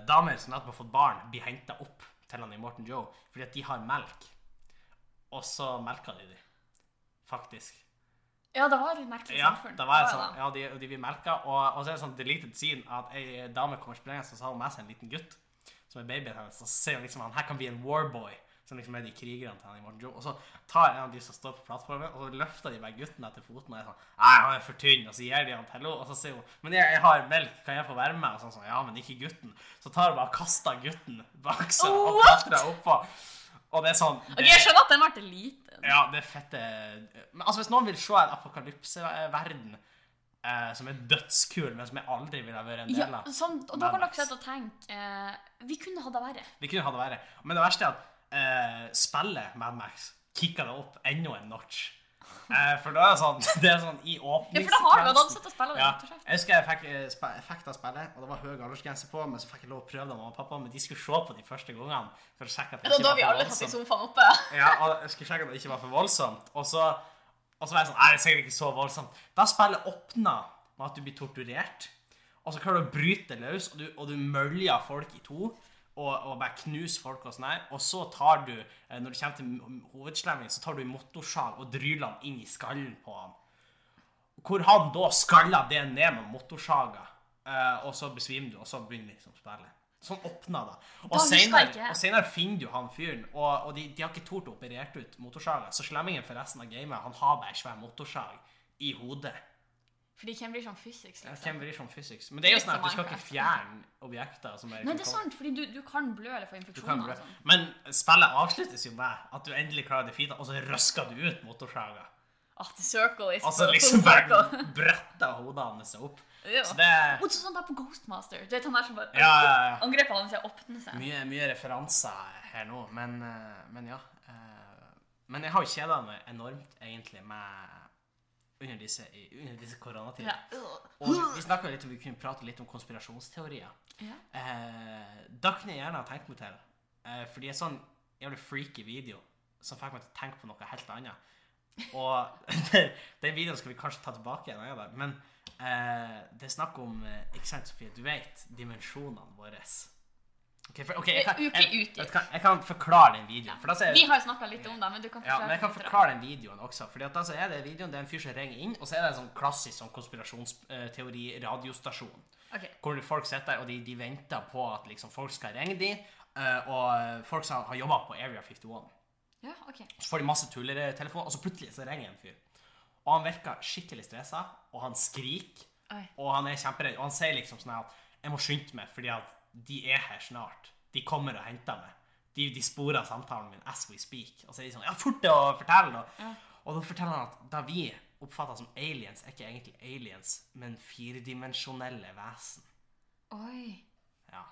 S1: eh, damer som nettopp har fått barn, blir henta opp til han Immortan Joe fordi at de har melk. Og så melker de dem, faktisk.
S2: Ja, det var et litt merkelig
S1: Ja,
S2: samfunn.
S1: da var jeg
S2: Det
S1: sånn,
S2: det.
S1: ja de, de blir melka, og, og så er det sånn deleted scene at ei dame kommer sprengende, og så har hun med seg en liten gutt som er babyen hennes, og så ser hun liksom han her kan bli en warboy, som liksom er de krigerne til han i Morten Joe, og så tar en av de som står på plattformen, og så løfter de bare gutten etter foten, og er sånn, nei, han er for tynn, og så gir de han til henne, og så sier hun, men jeg, jeg har melk, kan jeg få være med? Og sånn sånn, ja, men ikke gutten. Så tar hun bare og kaster gutten bak seg, og
S2: What?
S1: platter henne oppå, og det er sånn,
S2: Ok,
S1: det-
S2: Jeg skjønner at den ble liten.
S1: ja, det er fette Men altså, hvis noen vil se en apokalypseverden eh, som er dødskul, men som jeg aldri ville ha vært en
S2: Ja,
S1: del av
S2: sånn, og
S1: Mad
S2: da kan dere
S1: Max.
S2: sitte og tenke eh, Vi kunne ha det verre.
S1: Vi kunne ha det verre. Men det verste er at eh, spillet Mad Max kicka det opp enda en notch. Eh, for da er det sånn, (laughs) det er sånn i
S2: Ja,
S1: åpningssekvensen
S2: for da har du jo ansett å spille det.
S1: Ja.
S2: rett og slett.
S1: Jeg husker jeg fikk, eh, spe- jeg fikk det spillet, og det var høy aldersgrense på, men så fikk jeg lov å prøve det av mamma og pappa, men de skulle se på de første gangene. for å sjekke at
S2: Det
S1: det
S2: var
S1: ikke
S2: da
S1: var
S2: vi
S1: for
S2: alle satt i
S1: voldsomt.
S2: sofaen oppe.
S1: Ja, og jeg skulle sjekke at det ikke var for voldsomt. Og så, og så var jeg sånn Nei, det er sikkert ikke så voldsomt. Da spillet åpna med at du blir torturert, og så Altså, klarer du å bryte det løs, og du, og du møljer folk i to. Og, og bare knuser folk og sånn her. Og så tar du, eh, når du kommer til hovedslemmingen, så tar du motorsag og dryler han inn i skallen på han. Hvor han da skaller det ned med motorsaga, eh, og så besvimer du, og så begynner liksom spillet. Sånn åpna det. Og
S2: Da husker jeg
S1: senere,
S2: ikke.
S1: og senere finner du han fyren, og, og de, de har ikke tort å operere ut motorsaga. Så slemmingen for resten av gamet, han har bare en svær motorsag i hodet.
S2: Fordi hvem blir sånn physics,
S1: Jeg
S2: liksom?
S1: kjenner ikke om physics. Men det er jo
S2: Litt
S1: sånn at
S2: som
S1: du skal ikke fjerne objekter som er
S2: Nei, det er sant, fordi du, du kan blø eller få
S1: Du kan
S2: infeksjoner.
S1: bare-
S2: og sånn.
S1: Men spillet avsluttes jo med at du endelig klarer det fint, og så røsker du ut motorsaga.
S2: Ah, the circle is
S1: Og
S2: (laughs)
S1: så
S2: the
S1: liksom
S2: full
S1: bare
S2: circle.
S1: bretter hodet hans seg opp.
S2: Ja.
S1: Så det
S2: Og så sånn der på Ghostmaster. Du vet han der som bare
S1: Ja, ja, ja.
S2: Angrepet hans er å åpne seg.
S1: Mye, mye referanser her nå, men, eh, men ja. eh, Men jeg har jo kjeda meg enormt, egentlig, med under disse, i- under disse koronatidene.
S2: Ja. øh.
S1: Og vi snakka litt om vi kunne prate litt om konspirasjonsteorier.
S2: Ja.
S1: Eh, da kunne jeg gjerne ha tenkt meg til, eh, fordi en sånn jævlig freaky video som fikk meg til å tenke på noe helt annet. Og (laughs) den videoen skal vi kanskje ta tilbake igjen, ja, da, men eh, det er snakk om eh, Ikke sant, Sofie? Du vet dimensjonene våre. Ok, for, ok, jeg, kan,
S2: Uke
S1: jeg,
S2: ut, ja.
S1: vet du hva, jeg kan forklare den videoen. For da ser
S2: Vi har jo snakka litt om det, men du kan
S1: ja, men jeg kan
S2: litt om det.
S1: forklare den videoen også. Fordi at da så er det videoen, det er en fyr som ringer inn, og så er det en sånn klassisk sånn eh, konspirasjonsteori-radiostasjon.
S2: Ok.
S1: Hvor folk sitter der, og de, de venter på at liksom, folk skal ringe dem, og folk som har jobba på Area 51.
S2: Ja, ok.
S1: Så får de masse tullertelefoner, og så plutselig så ringer en fyr. Og han virker skikkelig stressa, og han skriker,
S2: Oi.
S1: og han er kjemperedd. Og han sier liksom sånn her at 'Jeg må skynde meg, fordi at de er her snart. De kommer og henter meg.' De, de sporer samtalen min as we speak. Og så er de sånn 'Ja, fort deg å fortelle', da. Og da forteller han at da vi oppfatter som aliens, er ikke egentlig aliens, men firedimensjonelle vesen.
S2: Oi.
S1: Ja.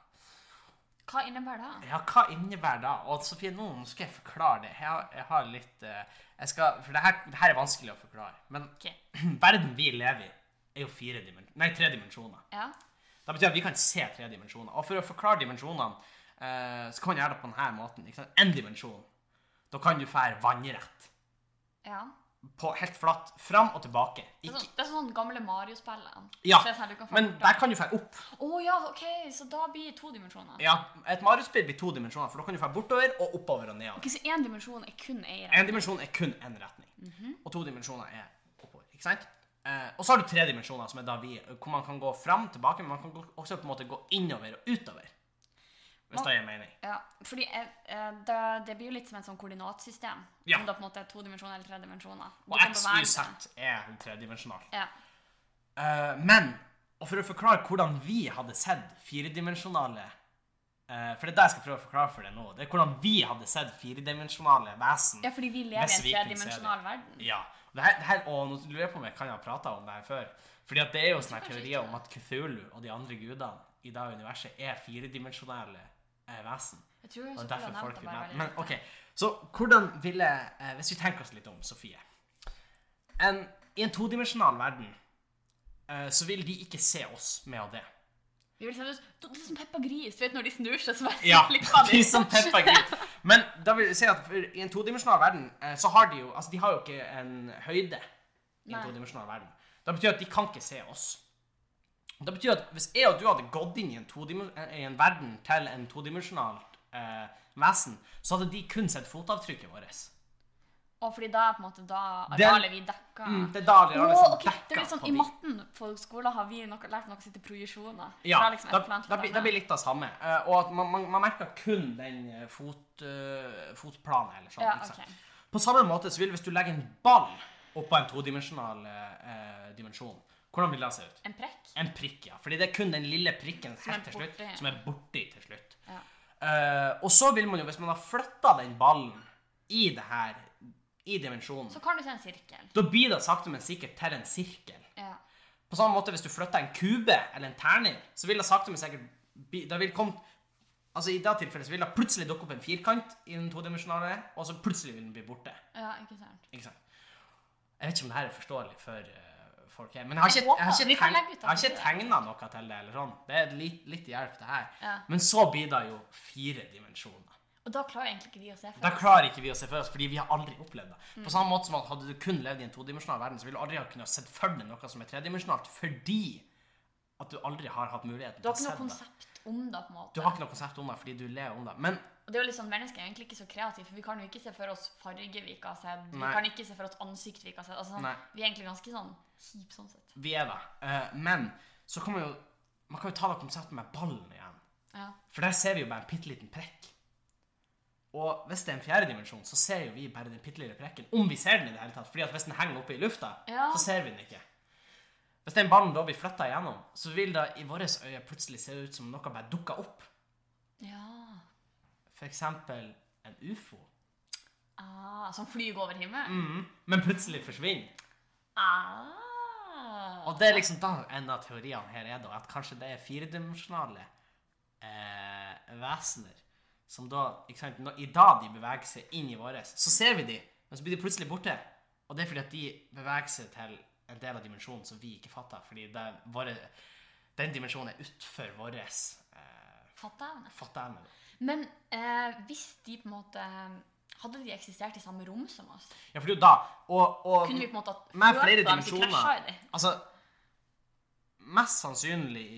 S2: Hva innebærer det?
S1: Ja, hva innebærer det? Og Sofie, nå nå skal jeg forklare det. Jeg har, jeg har litt eh, jeg skal, For det her, det her er vanskelig å forklare. Men (clears throat)
S2: Ok.
S1: verden vi lever i, er jo fire dimensjoner. Nei, tre dimensjoner.
S2: Ja.
S1: Det betyr at vi kan se tre dimensjoner. Og for å forklare dimensjonene, eh, så kan man gjøre det på denne måten. Ikke sant? En dimensjon. Da kan du fære vannrett.
S2: ja.
S1: På helt flatt. Fram og tilbake.
S2: Det, er
S1: Ikke,
S2: sånn, det er sånn gamle Mario-spillene.
S1: ja,
S2: Så det er sånn at du kan få-
S1: men der kan du fære opp.
S2: Å ja, OK, så da blir det to dimensjoner.
S1: Ja, Et Mario-spill blir to dimensjoner, for da kan du fære bortover og oppover og nedover.
S2: Ok, Så én dimensjon er kun eieren. Mhm.
S1: En dimensjon er kun én retning. Og to dimensjoner er oppover. ikke sant? Eh, og så har du tre dimensjoner, som er da vi, hvor man kan gå fram tilbake, men man kan gå, også på en måte gå innover og utover. Hvis
S2: Man-
S1: det gir mening.
S2: Ja, fordi eh, eh, da, Det blir jo litt som et sånn koordinatsystem.
S1: Ja.
S2: Om det på en måte er to dimensjoner eller tre dimensjoner. Du
S1: Og
S2: kan
S1: X,
S2: bevege
S1: Y,
S2: deg.
S1: Z er tredimensjonal.
S2: Ja.
S1: Eh, men og for å forklare hvordan vi hadde sett firedimensjonale eh, For det er det jeg skal prøve å forklare for deg nå. Det er hvordan vi hadde sett firedimensjonale vesen.
S2: ja, fordi vi lever i
S1: Hvis
S2: en
S1: vi kunne se
S2: tredimensjonal verden.
S1: Ja. Og, det her, det her, og nå lurer jeg på om jeg kan ha prata om det her før. Fordi at det er jo sånne her
S2: kanskje
S1: teorier
S2: ikke.
S1: om at Cthulhu og de andre gudene i det universet er firedimensjonale eh, vesen.
S2: Jeg tror jeg
S1: Og
S2: skulle ha
S1: derfor
S2: nevnt
S1: folk
S2: det
S1: vil nevne.
S2: bare veldig
S1: Men
S2: lite.
S1: ok, så hvordan ville eh, Hvis vi tenker oss litt om Sofie en, I en todimensjonal verden eh, så vil de ikke se oss med og det.
S2: Vi vil se ut du- du er som Peppa Gris. Du vet når de snur seg, så bare
S1: Ja,
S2: (laughs) flipper
S1: de som Peppa Gris. Men da vil jeg si at for- i en todimensjonal verden eh, så har de jo Altså, de har jo ikke en høyde i en
S2: Nei.
S1: todimensjonal verden. Det betyr at de kan ikke se oss. Det betyr at hvis jeg og du hadde gått inn i en, todimen- eh, i en verden til en todimensjonalt eh, vesen, så hadde de kun sett fotavtrykket vårt.
S2: Og fordi da er på en måte da
S1: Den-
S2: arealet vi dekka.
S1: Mm, det er da de har liksom
S2: Åh, Ah. ok, Det er
S1: dekka
S2: litt sånn
S1: på
S2: I
S1: de.
S2: matten på skolen har vi nok, lært noe som heter projisjoner.
S1: Ja,
S2: Fra liksom
S1: da,
S2: et plan til
S1: da,
S2: et
S1: blir- da
S2: annet.
S1: blir litt av samme. Eh, og at man, man, man merker kun den eh, fot, eh, fotplanet eller sånn.
S2: ja,
S1: ikke sant?
S2: ok.
S1: På samme måte så vil hvis du legger en ball oppå en todimensjonal eh, dimensjon, hvordan vil det se ut?
S2: En prekk?
S1: En prikk, ja. Fordi det er kun den lille prikken
S2: Som er
S1: helt til slutt,
S2: borti.
S1: som er borti til slutt.
S2: Ja.
S1: Eh, og så vil man jo, hvis man har flytta den ballen i det her, i dimensjonen,
S2: Så kan du se en sirkel.
S1: da blir det sakte, men sikkert til en sirkel.
S2: Ja.
S1: På samme måte hvis du flytter en kube eller en terning, så vil det sakte, men sikkert bli- da vil komme, altså I det tilfellet så vil det plutselig dukke opp en firkant i den todimensjonale, og så plutselig vil den bli borte.
S2: ja, ikke sant.
S1: Ikke sant? Jeg vet ikke om det her er forståelig for eh, folk her. Men jeg har
S2: Jeg
S1: ikke, jeg har
S2: håper. Vi
S1: ikke,
S2: kan
S1: tegn,
S2: legge ut
S1: jeg har
S2: det.
S1: ikke tegna noe til det. eller sånn. Det er litt, litt hjelp, det her.
S2: Ja.
S1: Men så blir det jo fire dimensjoner.
S2: Og da klarer egentlig ikke vi å se for
S1: Da klarer ikke vi å se for oss, fordi vi har aldri opplevd det.
S2: Mm.
S1: På samme måte som at Hadde du kun levd i en todimensjonal verden, så ville du aldri ha kunnet sett for deg noe som er tredimensjonalt, fordi at du aldri har hatt muligheten
S2: Du har
S1: til
S2: ikke
S1: å
S2: noe
S1: se det.
S2: konsept om det. på en måte.
S1: Du har ikke noe konsept om det fordi du lever om det. Men
S2: Og det er jo litt sånn, Mennesker er egentlig ikke så kreative, for vi kan jo ikke se for oss farge vi ikke har sett.
S1: Nei.
S2: Vi kan ikke se for oss ansikt vi ikke har sett. Altså, sånn,
S1: Nei.
S2: vi er egentlig ganske sånn kjipe sånn sett.
S1: vi er det. Eh, men så kan man jo man kan jo ta det konseptet med ballen igjen.
S2: Ja.
S1: For der ser vi jo bare en bitte liten prekk. Og hvis det er en fjerde dimensjon, så ser jo vi bare den bitte lille prekken. Om vi ser den i det hele tatt. Fordi at hvis den henger oppe i lufta,
S2: Ja.
S1: så ser vi den ikke. Hvis den ballen da blir flytta igjennom, så vil det i våre øyne plutselig se ut som noe bare dukker opp.
S2: ja.
S1: F.eks. en ufo.
S2: Ah, som flyr over himmelen?
S1: Mhm. Men plutselig forsvinner.
S2: Ah.
S1: Og det er liksom da en av teoriene her er da at kanskje det er firedimensjonale eh, vesener som da ikke sant, når, I dag de beveger seg inn i våres, så ser vi de, men så blir de plutselig borte. Og det er fordi at de beveger seg til en del av dimensjonen som vi ikke fatter. Fordi det er våre, den dimensjonen er utenfor vår eh,
S2: Fatter jeg det?
S1: fatteevne.
S2: Men eh, hvis de på en måte eh, Hadde de eksistert i samme rom som oss?
S1: Ja, for det er jo da og, og,
S2: Kunne vi på en måte
S1: Med flere
S2: følt dem, så
S1: dimensjoner.
S2: krasja i de?
S1: Altså Mest sannsynlig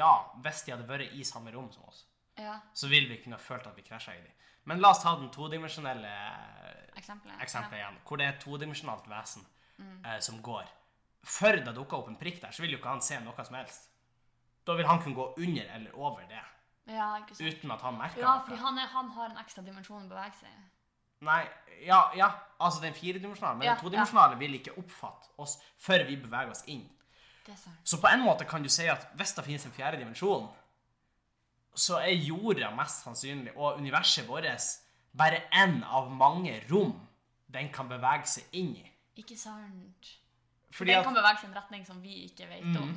S1: ja, hvis de hadde vært i samme rom som oss.
S2: Ja,
S1: så vil vi kunne ha følt at vi krasja i dem. Men la oss ta den todimensjonelle eh,
S2: eksempelet.
S1: eksempelet igjen, hvor det er et todimensjonalt vesen
S2: Mm.
S1: eh, som går. Før det dukker opp en prikk der, så vil jo ikke han se noe som helst. Da vil han kunne gå under eller over det,
S2: Ja, ikke sant.
S1: uten at han merker
S2: Ja,
S1: noe.
S2: fordi han, er, han har en ekstra dimensjon å bevege seg i.
S1: Nei, ja, ja, altså den firedimensjonale, men
S2: Ja,
S1: den todimensjonale vil ikke oppfatte oss før vi beveger oss inn.
S2: Det er sant.
S1: Så på en måte kan du si at hvis det finnes en fjerde dimensjon, så er jorda mest sannsynlig, og universet vårt, bare én av mange rom den kan bevege seg inn i.
S2: Ikke sant.
S1: Fordi
S2: den
S1: at, Mm.
S2: kan bevege seg i en retning som vi ikke vet om.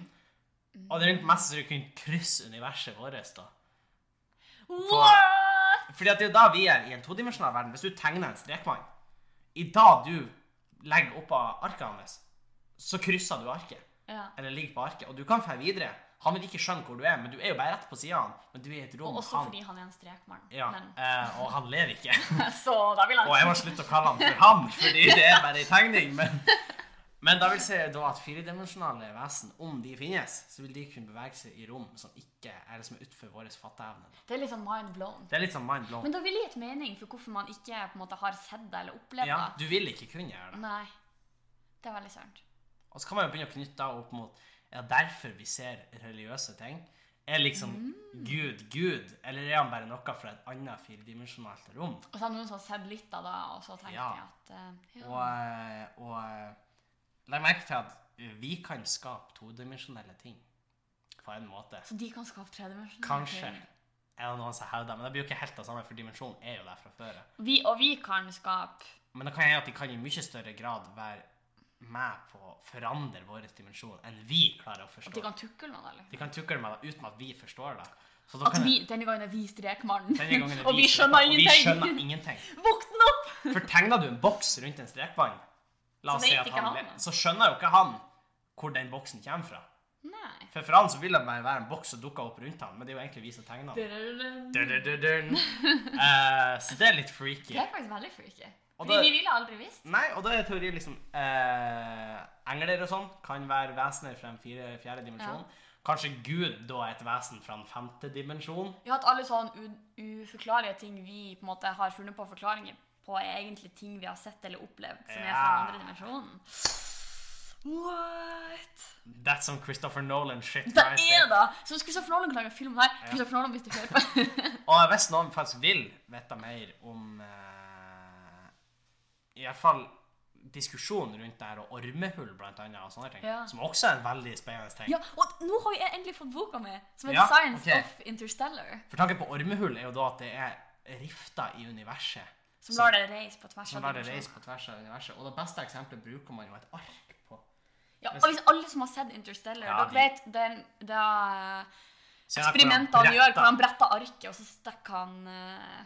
S1: og det er mest sannsynlig kunne krysse universet vårt. da.
S2: What?!
S1: Fordi at det er jo da vi er i en todimensjonal verden. Hvis du tegner en strekmann, i dag du legger oppå arket hans, så krysser du arket.
S2: Ja.
S1: Eller ligger på arket. Og du kan dra videre. Han vil ikke skjønne hvor du er, men du er jo bare rett på sida av han. Men du er i et rom
S2: Og også
S1: han
S2: fordi han er en strekmann.
S1: Ja,
S2: Men, (laughs)
S1: eh, og han lever ikke. (laughs)
S2: så da vil han
S1: Og jeg må slutte å kalle han for han, fordi det er bare en tegning. Men, men da vil si da at firedimensjonale vesen, om de finnes, så vil de kunne bevege seg i rom som ikke er det som er utenfor vår fatteevne.
S2: Det er litt sånn mind blown.
S1: Det er litt sånn mind blown.
S2: Men da vil det gitt mening for hvorfor man ikke på en måte har sett det eller opplevd
S1: Ja,
S2: det.
S1: du vil ikke kunne gjøre det.
S2: Nei. Det er veldig sant.
S1: Og så kan man jo begynne å knytte det opp mot Er det derfor vi ser religiøse ting? Er liksom
S2: Mm.
S1: Gud Gud, eller er han bare noe fra et annet firedimensjonalt rom?
S2: Og så har noen som har sett litt av det, og så tenkte
S1: Ja.
S2: jeg at eh, ja.
S1: Og, eh, og eh, legg merke til at vi kan skape todimensjonelle ting på en måte.
S2: Så de kan skape tredimensjoner?
S1: Kanskje. Er det noen som hevder det? Men det blir jo ikke helt det samme, for dimensjonen er jo der fra før.
S2: Vi, og vi kan skape
S1: Men det kan hende at de kan i mye større grad være med på å forandre vår dimensjon enn vi klarer å
S2: At de
S1: forstå.
S2: kan tukle med det? eller?
S1: De kan tukle med det uten at vi forstår det. Så da
S2: At
S1: kan
S2: vi, denne gangen er vi strekmannen,
S1: denne
S2: (laughs)
S1: gangen er
S2: og vi skjønner
S1: og vi
S2: (laughs)
S1: skjønner
S2: ingenting!
S1: ingenting.
S2: Våkne opp!
S1: For tegner du en boks rundt en strekvann, la oss
S2: Så
S1: si
S2: vet
S1: at
S2: ikke
S1: han,
S2: han.
S1: le- så skjønner jo ikke han hvor den boksen kommer fra.
S2: Nei.
S1: For for han så vil det bare være en boks som dukker opp rundt han, men det er jo egentlig vi som tegner den. Dun-dun-dun-dun. (laughs) Eh, så det er litt freaky.
S2: Det er faktisk veldig freaky.
S1: Og
S2: Fordi
S1: det-
S2: vi ville aldri visst.
S1: Nei, og da er teorien liksom eh, Engler og sånn kan være vesener fra den fire, fjerde dimensjonen. Kanskje Gud da er et vesen fra den femte dimensjonen.
S2: Vi har hatt alle sånne u- uforklarlige ting vi på en måte har funnet på forklaringer på, er egentlig ting vi har sett eller opplevd som er fra
S1: Ja.
S2: andre dimensjonen. What?
S1: That's some Christopher Nolan shit.
S2: Det
S1: right
S2: er
S1: there.
S2: det! Så hvis Christopher Nolan kan lage film om det her. Christopher Nolan hvis du hører på.
S1: Og hvis noen faktisk vil vite mer om eh, I hvert fall diskusjonen rundt det her, og ormehull blant annet, og sånne ting,
S2: Ja.
S1: som også er en veldig spennende ting.
S2: (laughs) ja, og nå har jeg endelig fått boka mi, som heter
S1: Ja,
S2: Science
S1: ok.
S2: of Interstellar.
S1: For tanken på ormehull er jo da at det er rifter i universet.
S2: Som lar det reise på tvers
S1: som
S2: av
S1: lar det
S2: dimensjoner.
S1: reise på tvers av universet. Og det beste eksempelet bruker man jo et ark på.
S2: Ja, og hvis alle som har sett Interstellar,
S1: Ja,
S2: dere
S1: de-
S2: vet den, det er
S1: Så jeg
S2: eksperimentet
S1: akkurat
S2: han gjør, hvor
S1: bretter-
S2: han bretter arket, og så stikker han eh,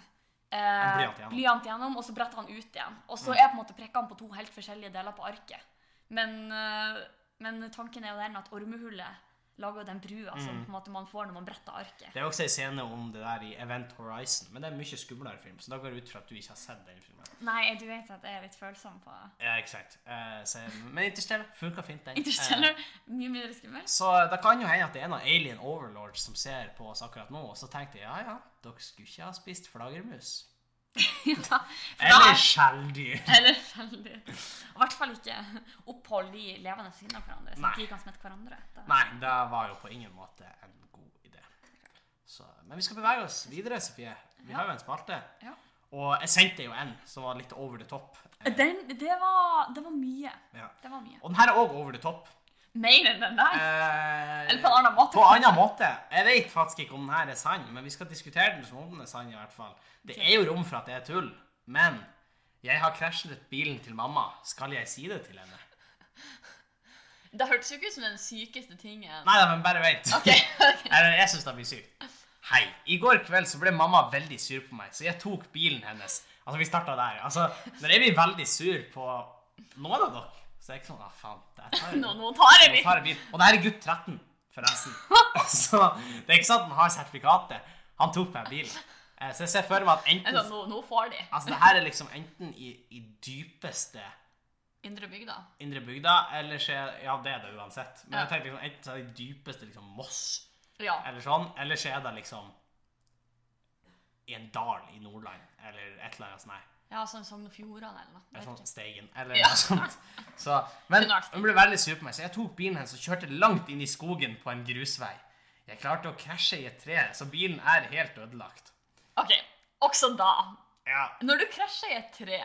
S2: eh,
S1: blyant gjennom.
S2: blyant gjennom, og så bretter han ut igjen. Og
S1: Mm.
S2: så er på en måte prikkene på to helt forskjellige deler på arket. Men, eh, men tanken er jo den at ormehullet lager jo den brua som
S1: Mm.
S2: på en måte man får når man bretter arket.
S1: Det er også en scene om det der i Event Horizon, men det er en mye skumlere film, så da går jeg ut fra at du ikke har sett den filmen.
S2: Nei, du vet at jeg er litt følsom på
S1: Ja, ikke sant. Eh, så, men Interstellar funka fint, den. Eh,
S2: Interstellar. Mye mindre skummel. (laughs)
S1: så det kan jo hende at det er noen alien overlords som ser på oss akkurat nå, og så tenkte jeg ja ja, dere skulle ikke ha spist flaggermus.
S2: ja, for da
S1: Eller
S2: er-
S1: skjelldyr.
S2: Eller veldig. Og i hvert fall ikke opphold i levende sinne av hverandre. Så
S1: Nei.
S2: at de kan smitte hverandre. Da-
S1: Nei, det var jo på ingen måte en god idé. Så, men vi skal bevege oss videre, Sofie. Vi har jo en spalte.
S2: Ja.
S1: Og jeg sendte jo en som var litt over the top. Eh,
S2: Den, det, var, det var mye.
S1: Ja.
S2: Det var mye.
S1: Og den her er òg over the top.
S2: Mer enn den der.
S1: Eh,
S2: Eller på en annen måte.
S1: På en annen måte. Jeg vet faktisk ikke om den her er sann, men vi skal diskutere den som om den er sann. i hvert fall. Det er jo rom for at det er tull, men jeg har krasjet bilen til mamma. Skal jeg si det til henne?
S2: Det hørtes jo ikke ut som den sykeste tingen.
S1: Nei, nei, men bare vent.
S2: Ok,
S1: (laughs)
S2: ok.
S1: Eller, jeg syns det blir sykt. Hei. I går kveld så ble mamma veldig sur på meg, så jeg tok bilen hennes. Altså, vi starta der. Altså, når jeg blir veldig sur på noen av dere, så er jeg ikke sånn ah, faen, der
S2: (laughs)
S1: tar jeg
S2: (laughs) Nå, nå tar jeg
S1: Nå
S2: litt.
S1: tar jeg bil. Og det her er gutt 13,
S2: (laughs)
S1: forresten. Så det er ikke sant at han har sertifikatet. Han tok meg bilen. Eh, Så jeg ser for meg at
S2: Jeg sa,
S1: enten
S2: nå, nå får de.
S1: Altså, det her er liksom enten i, i dypeste
S2: Indre bygda.
S1: indre bygda, eller så er Ja, det er det uansett. Men
S2: Ja.
S1: jeg tenker liksom enten så er det i dypeste liksom Moss,
S2: Ja.
S1: eller sånn, eller så er det liksom i en dal i Nordland, eller et eller annet sånt. Nei.
S2: ja sånn Sogn og Fjordane eller noe.
S1: Det
S2: Vet
S1: er sånn
S2: ikke.
S1: Steigen, eller
S2: Ja.
S1: noe sånt. Så, men
S2: Gunnar Steigen.
S1: hun ble veldig sur på meg, så jeg tok bilen hennes og kjørte langt inn i skogen på en grusvei. Jeg klarte å krasje i et tre, så bilen er helt ødelagt.
S2: OK. Også da.
S1: Ja,
S2: Når du krasjer i et tre,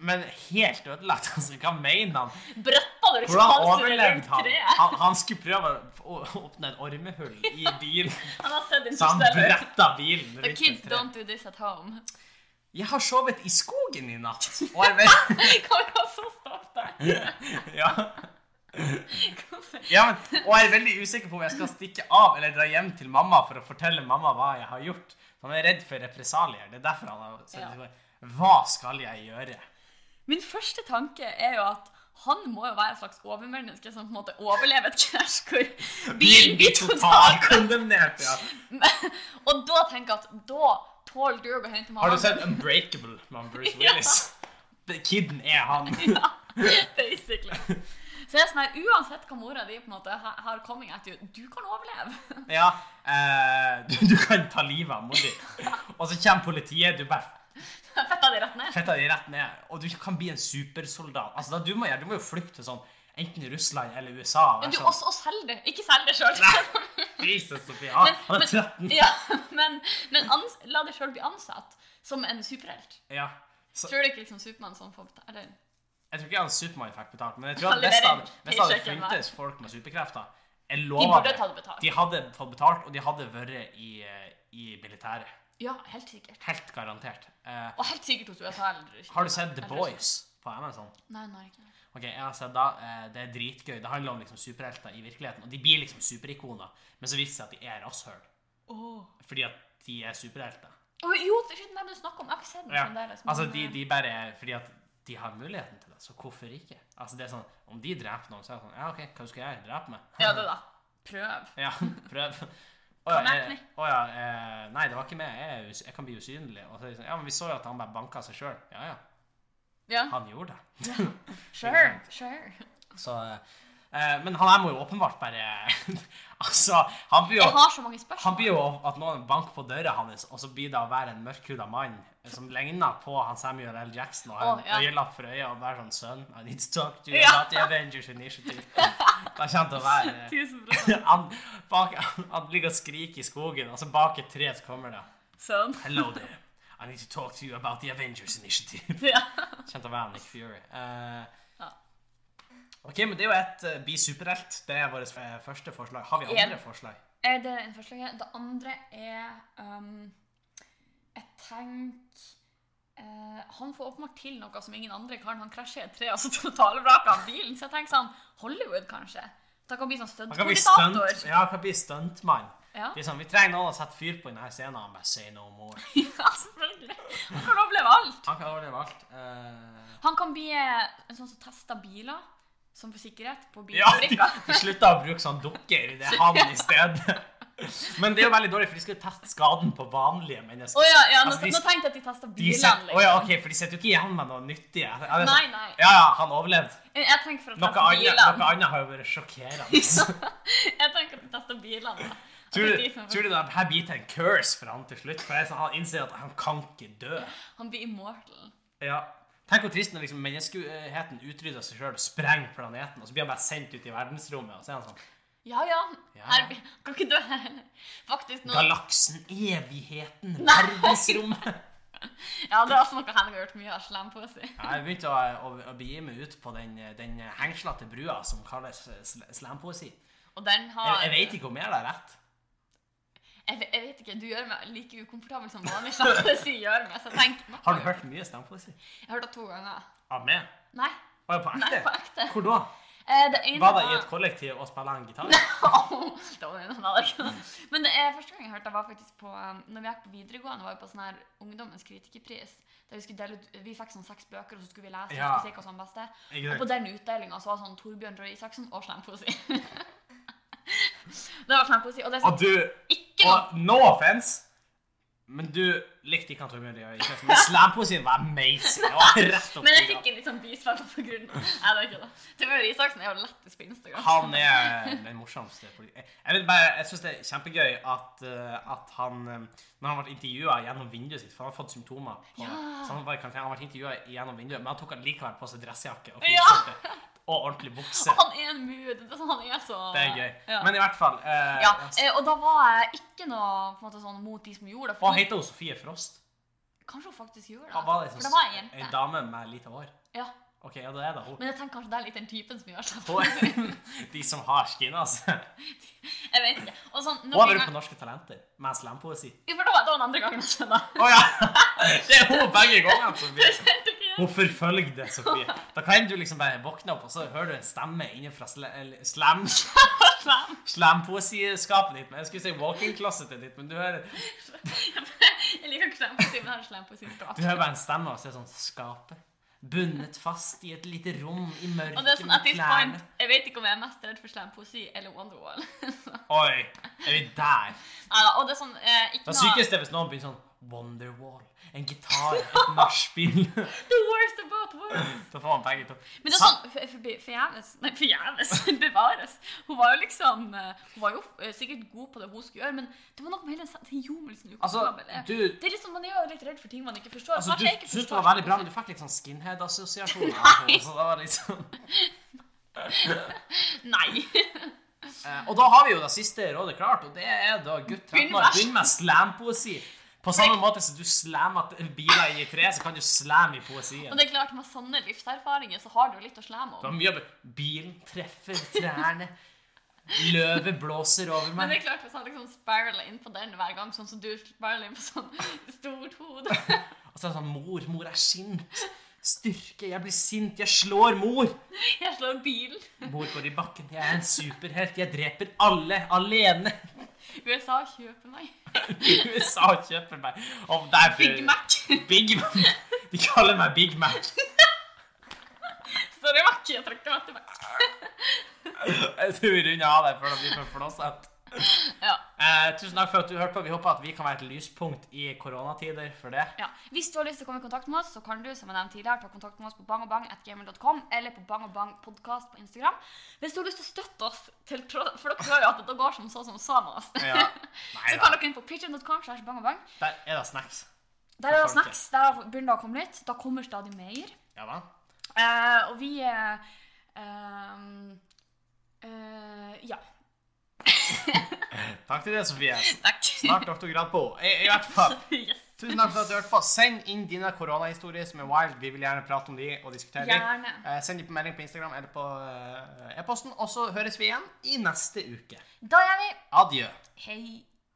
S1: men helt ødelagt? (laughs) Altså, hva mener han?
S2: bretter du ikke
S1: Hvordan
S2: halsen rundt
S1: overlevde han?
S2: treet?
S1: han? Han skulle prøve å å åpne et ormehull i bilen,
S2: Han har sett
S1: så han
S2: Interstellar.
S1: bretta bilen
S2: The
S1: rundt
S2: kids
S1: et tre.
S2: don't do this at home.
S1: Jeg har sovet i skogen i natt, og jeg vet
S2: (laughs) Kan vi også stoppe der?
S1: Ja. Ja, men, og jeg er veldig usikker på om jeg skal stikke av eller dra hjem til mamma for å fortelle mamma hva jeg har gjort. Så Han er redd for represalier. Det er derfor han har sendt
S2: Ja.
S1: Hva skal jeg gjøre?
S2: Min første tanke er jo at han må jo være et slags overmenneske som på en måte overlever et krasj hvor bilen blir (laughs) totalt
S1: totalkondemnert, ja.
S2: Og da tenker jeg at da tåler du å gå hjem til mamma.
S1: Har du sett Unbreakable med Bruce Willis? The Kiden er han.
S2: (laughs) Ja, basically. Så jeg er sånn her, uansett hva mora di på en måte har har coming at you, du kan overleve. (laughs)
S1: Ja, eh, du, du kan ta livet av mor di. Og så kommer politiet, du bare
S2: Fetta di rett ned.
S1: fetter de rett ned, og du kan bli en supersoldat. Altså, da du, må, gjøre- du må jo flykte til sånn enten Russland eller USA. og
S2: Men
S1: jeg
S2: du,
S1: er sånn,
S2: også, og selg det. Ikke selg det sjøl.
S1: Jesus, Sofie. Ah, Han, han er 13.
S2: (laughs) ja, men, men ans, la deg sjøl bli ansatt som en superhelt.
S1: Ja. Så,
S2: Tror du ikke liksom Supermann som får betalt? Eller?
S1: jeg tror ikke han Supermann fikk betalt, men jeg tror at
S2: Han
S1: hvis det
S2: leverer
S1: hadde- hvis det hadde
S2: paychecken, hva?
S1: funtes folk med superkrefter Jeg
S2: De
S1: lover
S2: burde
S1: det.
S2: tatt betalt.
S1: De hadde fått betalt, og de hadde vært i, eh, i militæret.
S2: Ja, helt sikkert.
S1: Helt garantert. Eh,
S2: Og helt sikkert hos USA eller
S1: har du sett The
S2: eller-
S1: Boys på Amazon?
S2: Nei, nå har jeg ikke det.
S1: Ok, jeg har sett da, eh, Det er dritgøy. Det handler om liksom superhelter i virkeligheten. Og de blir liksom superikoner, men så viser det seg at de er rasshøl.
S2: Åh.
S1: Fordi at de er superhelter.
S2: Åh, jo, det er den du snakker om. Jeg har ikke sett den
S1: Ja.
S2: fremdeles. men- liksom-
S1: Altså, de, de bare er Fordi at de har muligheten til det, så hvorfor ikke? Altså, det er sånn Om de dreper noen, så er det sånn Ja, OK, hva skal jeg gjøre? Drepe meg?
S2: Ja, det da. Prøv.
S1: Ja, (laughs) prøv. Å
S2: (laughs) Kan
S1: ja,
S2: jeg
S1: eh,
S2: kni-
S1: å ja, eh, nei, det var ikke meg. Jeg, er us jeg kan bli usynlig. Og så er det sånn, ja, men vi så jo at han bare banka seg sjøl. Ja, ja,
S2: Ja.
S1: han gjorde det.
S2: Sure. Sure.
S1: Så, eh, men han her må jo åpenbart bare (laughs) Altså, han blir jo,
S2: Jeg har så mange
S1: han blir
S2: spørsmål.
S1: jo at noen banker på døra hans, og så blir det å være en mørkhuda mann som ligner på han Samuel L. Jackson og har en
S2: Å, ja.
S1: øyelapp for øyet og bare sånn Son, I need to talk to you
S2: Ja.
S1: about the Avengers Initiative. Da kommer han til å være eh,
S2: (laughs)
S1: (laughs)
S2: Tusen bra.
S1: han, bak, han ligger og skriker i skogen, og så bak et tre så kommer det
S2: Sånn. (laughs)
S1: Hello there. I need to talk to you about the Avengers Initiative. (laughs)
S2: Ja.
S1: Kjent å være Nick Fury. Eh,
S2: Ja.
S1: OK, men det er jo et uh, bli superhelt. Det er vårt eh, første forslag. Har vi
S2: En.
S1: andre forslag?
S2: Eh, Det er det forslaget. Det andre er ehm, Jeg tenker eh, Han får åpenbart til noe som ingen andre kan. Han krasjer i et tre, og så (laughs) totalvraker han bilen. Så jeg tenker sånn Hollywood, kanskje? Da kan han bli sånn
S1: Han kan bli stunt,
S2: stuntkoordinator.
S1: ja, han kan bli stuntmann.
S2: Ja. (laughs)
S1: Det er sånn, vi trenger noen å sette fyr på i denne scenen. Han bare say no more.
S2: ja, selvfølgelig. Han kan oppleve alt.
S1: Han kan overleve alt. Eh,
S2: Han kan bli eh, en sånn som tester biler, som for sikkerhet, på
S1: ja, de,
S2: bilfabrikker.
S1: de slutta å bruke sånn dukker. Det er han i stedet.
S2: (laughs)
S1: Men det er jo veldig dårlig, for de skal jo teste skaden på vanlige
S2: Å
S1: mennesker.
S2: ja, ja, nå,
S1: Altså, de-
S2: nå tenkte jeg at de tester
S1: De
S2: bilene.
S1: set,
S2: Liksom.
S1: Å ja, ok, for de sitter jo ikke igjen med noe nyttig. Ja, det er
S2: Nei, Altså,
S1: sånn-
S2: nei.
S1: Ja, ja, han overlevde.
S2: Jeg tenker for å
S1: Noe
S2: teste
S1: annet, noe
S2: bilene.
S1: annet har jo vært
S2: (laughs)
S1: sjokkerende.
S2: Jeg tenker at de tester bilene. da.
S1: Liksom.
S2: At
S1: Tror
S2: det er
S1: du,
S2: de som-
S1: tror du det her blir til en curse for han til slutt? For det er sånn, han innser at han kan ikke dø.
S2: Han blir immortal.
S1: Ja. Tenk hvor trist når liksom menneskeheten utrydder seg sjøl og sprenger planeten, og så blir han bare sendt ut i verdensrommet, og så er han sånn
S2: Ja, ja.
S1: Ja.
S2: Her, blir- kan ikke dø her heller. (laughs) Faktisk nå
S1: Galaksen, evigheten, verdensrommet. (laughs)
S2: Ja, det er også noe han har gjort mye av slampoesi.
S1: Ja, jeg begynte å, å, å begi meg ut på den, den hengslete brua som kalles eh, sl- slampoesi.
S2: Og den
S1: Jeg,
S2: har
S1: jeg vet ikke om jeg har rett.
S2: Jeg, ve- jeg vet ikke, du gjør meg like ukomfortabel som vanlig slampoesi gjør meg. Så jeg tenker
S1: Har du hørt mye slampoesi?
S2: Jeg har hørt det to ganger.
S1: Av meg?
S2: Nei.
S1: Var det på
S2: Nei, på
S1: ekte?
S2: ekte.
S1: Hvor da?
S2: Eh, det ene
S1: Var det i et kollektiv og spilte han gitar?
S2: det var en annen dag. Men det er første gang jeg hørte det var faktisk på um, Når vi gikk på videregående, var vi på sånn her Ungdommens kritikerpris. Der vi, skulle dele ut, vi fikk sånn seks bøker, og så skulle vi lese
S1: Ja.
S2: og skulle se hva som var beste.
S1: Ikke
S2: Og på
S1: sant?
S2: den utdelinga så var det sånn Torbjørn Røe Isaksen og slampoesi. (laughs) det var slampoesi. Og det er
S1: Og
S2: sånn
S1: du
S2: ikke noe
S1: Og no offense, men du likte ikke han Torbjørn Røe Isaksen. Men slampoesien var amazing. Det var rett opp
S2: Men jeg
S1: i
S2: fikk en litt sånn bisfall på grunn av Nei, det er ikke det. Torbjørn Røe Isaksen er jo lettest på Instagram.
S1: Han er den morsomste politi- Jeg vil bare, jeg syns det er kjempegøy at, eh, at han eh, Når han ble intervjua gjennom vinduet sitt, for han har fått symptomer på,
S2: Ja.
S1: Så han var i karantene, han ble intervjuet gjennom vinduet, men han tok allikevel på seg dressjakke og
S2: Ja.
S1: fyrskjorte og ordentlig bukse.
S2: Han er en mood. Det er sånn, han er så
S1: Det er gøy.
S2: Ja.
S1: Men i hvert fall eh,
S2: ja, eh, og da var jeg ikke noe på en måte sånn mot de som gjorde det.
S1: Hva
S2: fordi-
S1: heter hun Sofie Frost?
S2: Kanskje hun faktisk gjorde det.
S1: Hva var det,
S2: For det var ei jente.
S1: en dame med lite hår?
S2: Ja.
S1: Ok, ja, det er da hun.
S2: Men jeg tenker kanskje det er litt den typen som gjør seg
S1: På- (laughs) De som har skinnet, altså.
S2: (laughs) Jeg vet ikke. Og sånn,
S1: Hun
S2: når
S1: har
S2: vi
S1: vært
S2: gang...
S1: på Norske Talenter med slampoesi.
S2: (laughs) Jo, for det var det var den andre gangen også, da.
S1: Å ja! Det er hun begge gangene, Sofie.
S2: (laughs) Jeg tenkte ikke det.
S1: Hun forfølger det, Sofie. Da kan du liksom bare våkne opp, og så hører du en stemme innenfra sl eller slam (laughs) slampoesiskapet ditt. Men jeg skulle si walking-closetet ditt, men du hører,
S2: Jeg liker ikke slem på sin, men jeg har slem på sin språk.
S1: du hører bare en stemme, og så er det sånn skapet. Bundet fast i et lite rom i mørket
S2: Og det er sånn at
S1: med
S2: this point,
S1: klærne.
S2: Jeg vet ikke om jeg er mest redd for slampoesi eller Wonderwall. (laughs) Neida,
S1: Oi, er vi der?
S2: og det er sånn eh, ikke
S1: Det
S2: noe
S1: sykeste er hvis noen begynner sånn Wonderwall, en gitar, et (laughs) nachspiel.
S2: The worst of both worlds.
S1: Da får man begge to.
S2: Men det er
S1: Sa-
S2: sånn for- for- Forgjeves. Nei, forgjeves. (laughs) Bevares. Hun var jo liksom eh, Hun var jo eh, sikkert god på det hun skulle gjøre, men det var noe med hele den den jomelsen
S1: Altså,
S2: ukomfortabel. er.
S1: du,
S2: Det er liksom, Man er jo litt redd for ting man ikke forstår.
S1: altså, du
S2: Kanskje jeg ikke
S1: syntes det
S2: forstår
S1: liksom, var veldig bra, men du fikk litt sånn skinhead-assosiasjoner. av henne, Så det var litt sånn
S2: Nei.
S1: Eh, og da har vi jo det siste rådet klart, og det er da gutt 13
S2: Begynn
S1: år,
S2: verst.
S1: begynn med slampoesi. På samme måte som du slammer t- biler i tre, så kan du slamme i
S2: Og
S1: poesien.
S2: det er klart, med sanne livserfaringer så har du jo litt å slemme
S1: Det var
S2: om.
S1: mye av Bilen treffer trærne, løvet blåser over
S2: Men
S1: meg.
S2: det er klart, hvis han liksom spiraler inn på den hver gang, sånn som du spiraler inn på sånn stort hode
S1: Og så er det sånn Mor, mor er sint. Styrke. Jeg blir sint. Jeg slår mor.
S2: Jeg slår bilen.
S1: Mor går i bakken. Jeg er en superhelt. Jeg dreper alle alene.
S2: USA kjøper meg.
S1: (laughs) USA kjøper meg. Og derfor
S2: Big Mac.
S1: Big Mac. (laughs) De kaller meg Big
S2: (laughs)
S1: Mac.
S2: Sorry, Mac. Jeg trekker meg tilbake.
S1: Jeg tror vi runder av der før det blir for flåsete.
S2: Ja.
S1: Eh, tusen takk for at du hørte på. Vi håper at vi kan være et lyspunkt i koronatider for det.
S2: Ja. Hvis du har lyst til å komme i kontakt med oss, så kan du som jeg nevnte tidligere, ta kontakt med oss på bangabang.gamer.com eller på bangabangpodkast på Instagram. Hvis du har lyst til å støtte oss, til, tro- for dere hører jo at det går som så som samas, (laughs)
S1: Ja. Nei
S2: så kan
S1: da.
S2: dere inn på patreon.com. slash bangabang.
S1: Der er det snacks.
S2: Der er det
S1: folket.
S2: snacks. Der begynner det å komme litt. Da kommer stadig mer.
S1: Ja da.
S2: Eh, og vi eh, ehm, eh, Ja.
S1: Takk til deg, Sofie.
S2: Takk. (laughs)
S1: Snart doktorgrad på. I, I hvert fall.
S2: Yes.
S1: Tusen takk for at du hørte på. Send inn dine koronahistorier som er wild. Vi vil gjerne prate om de og diskutere de.
S2: Gjerne.
S1: Eh, send de på melding på Instagram eller på eh, e-posten. Og så høres vi igjen i neste uke.
S2: Da gjør vi
S1: Adjø.
S2: Hei.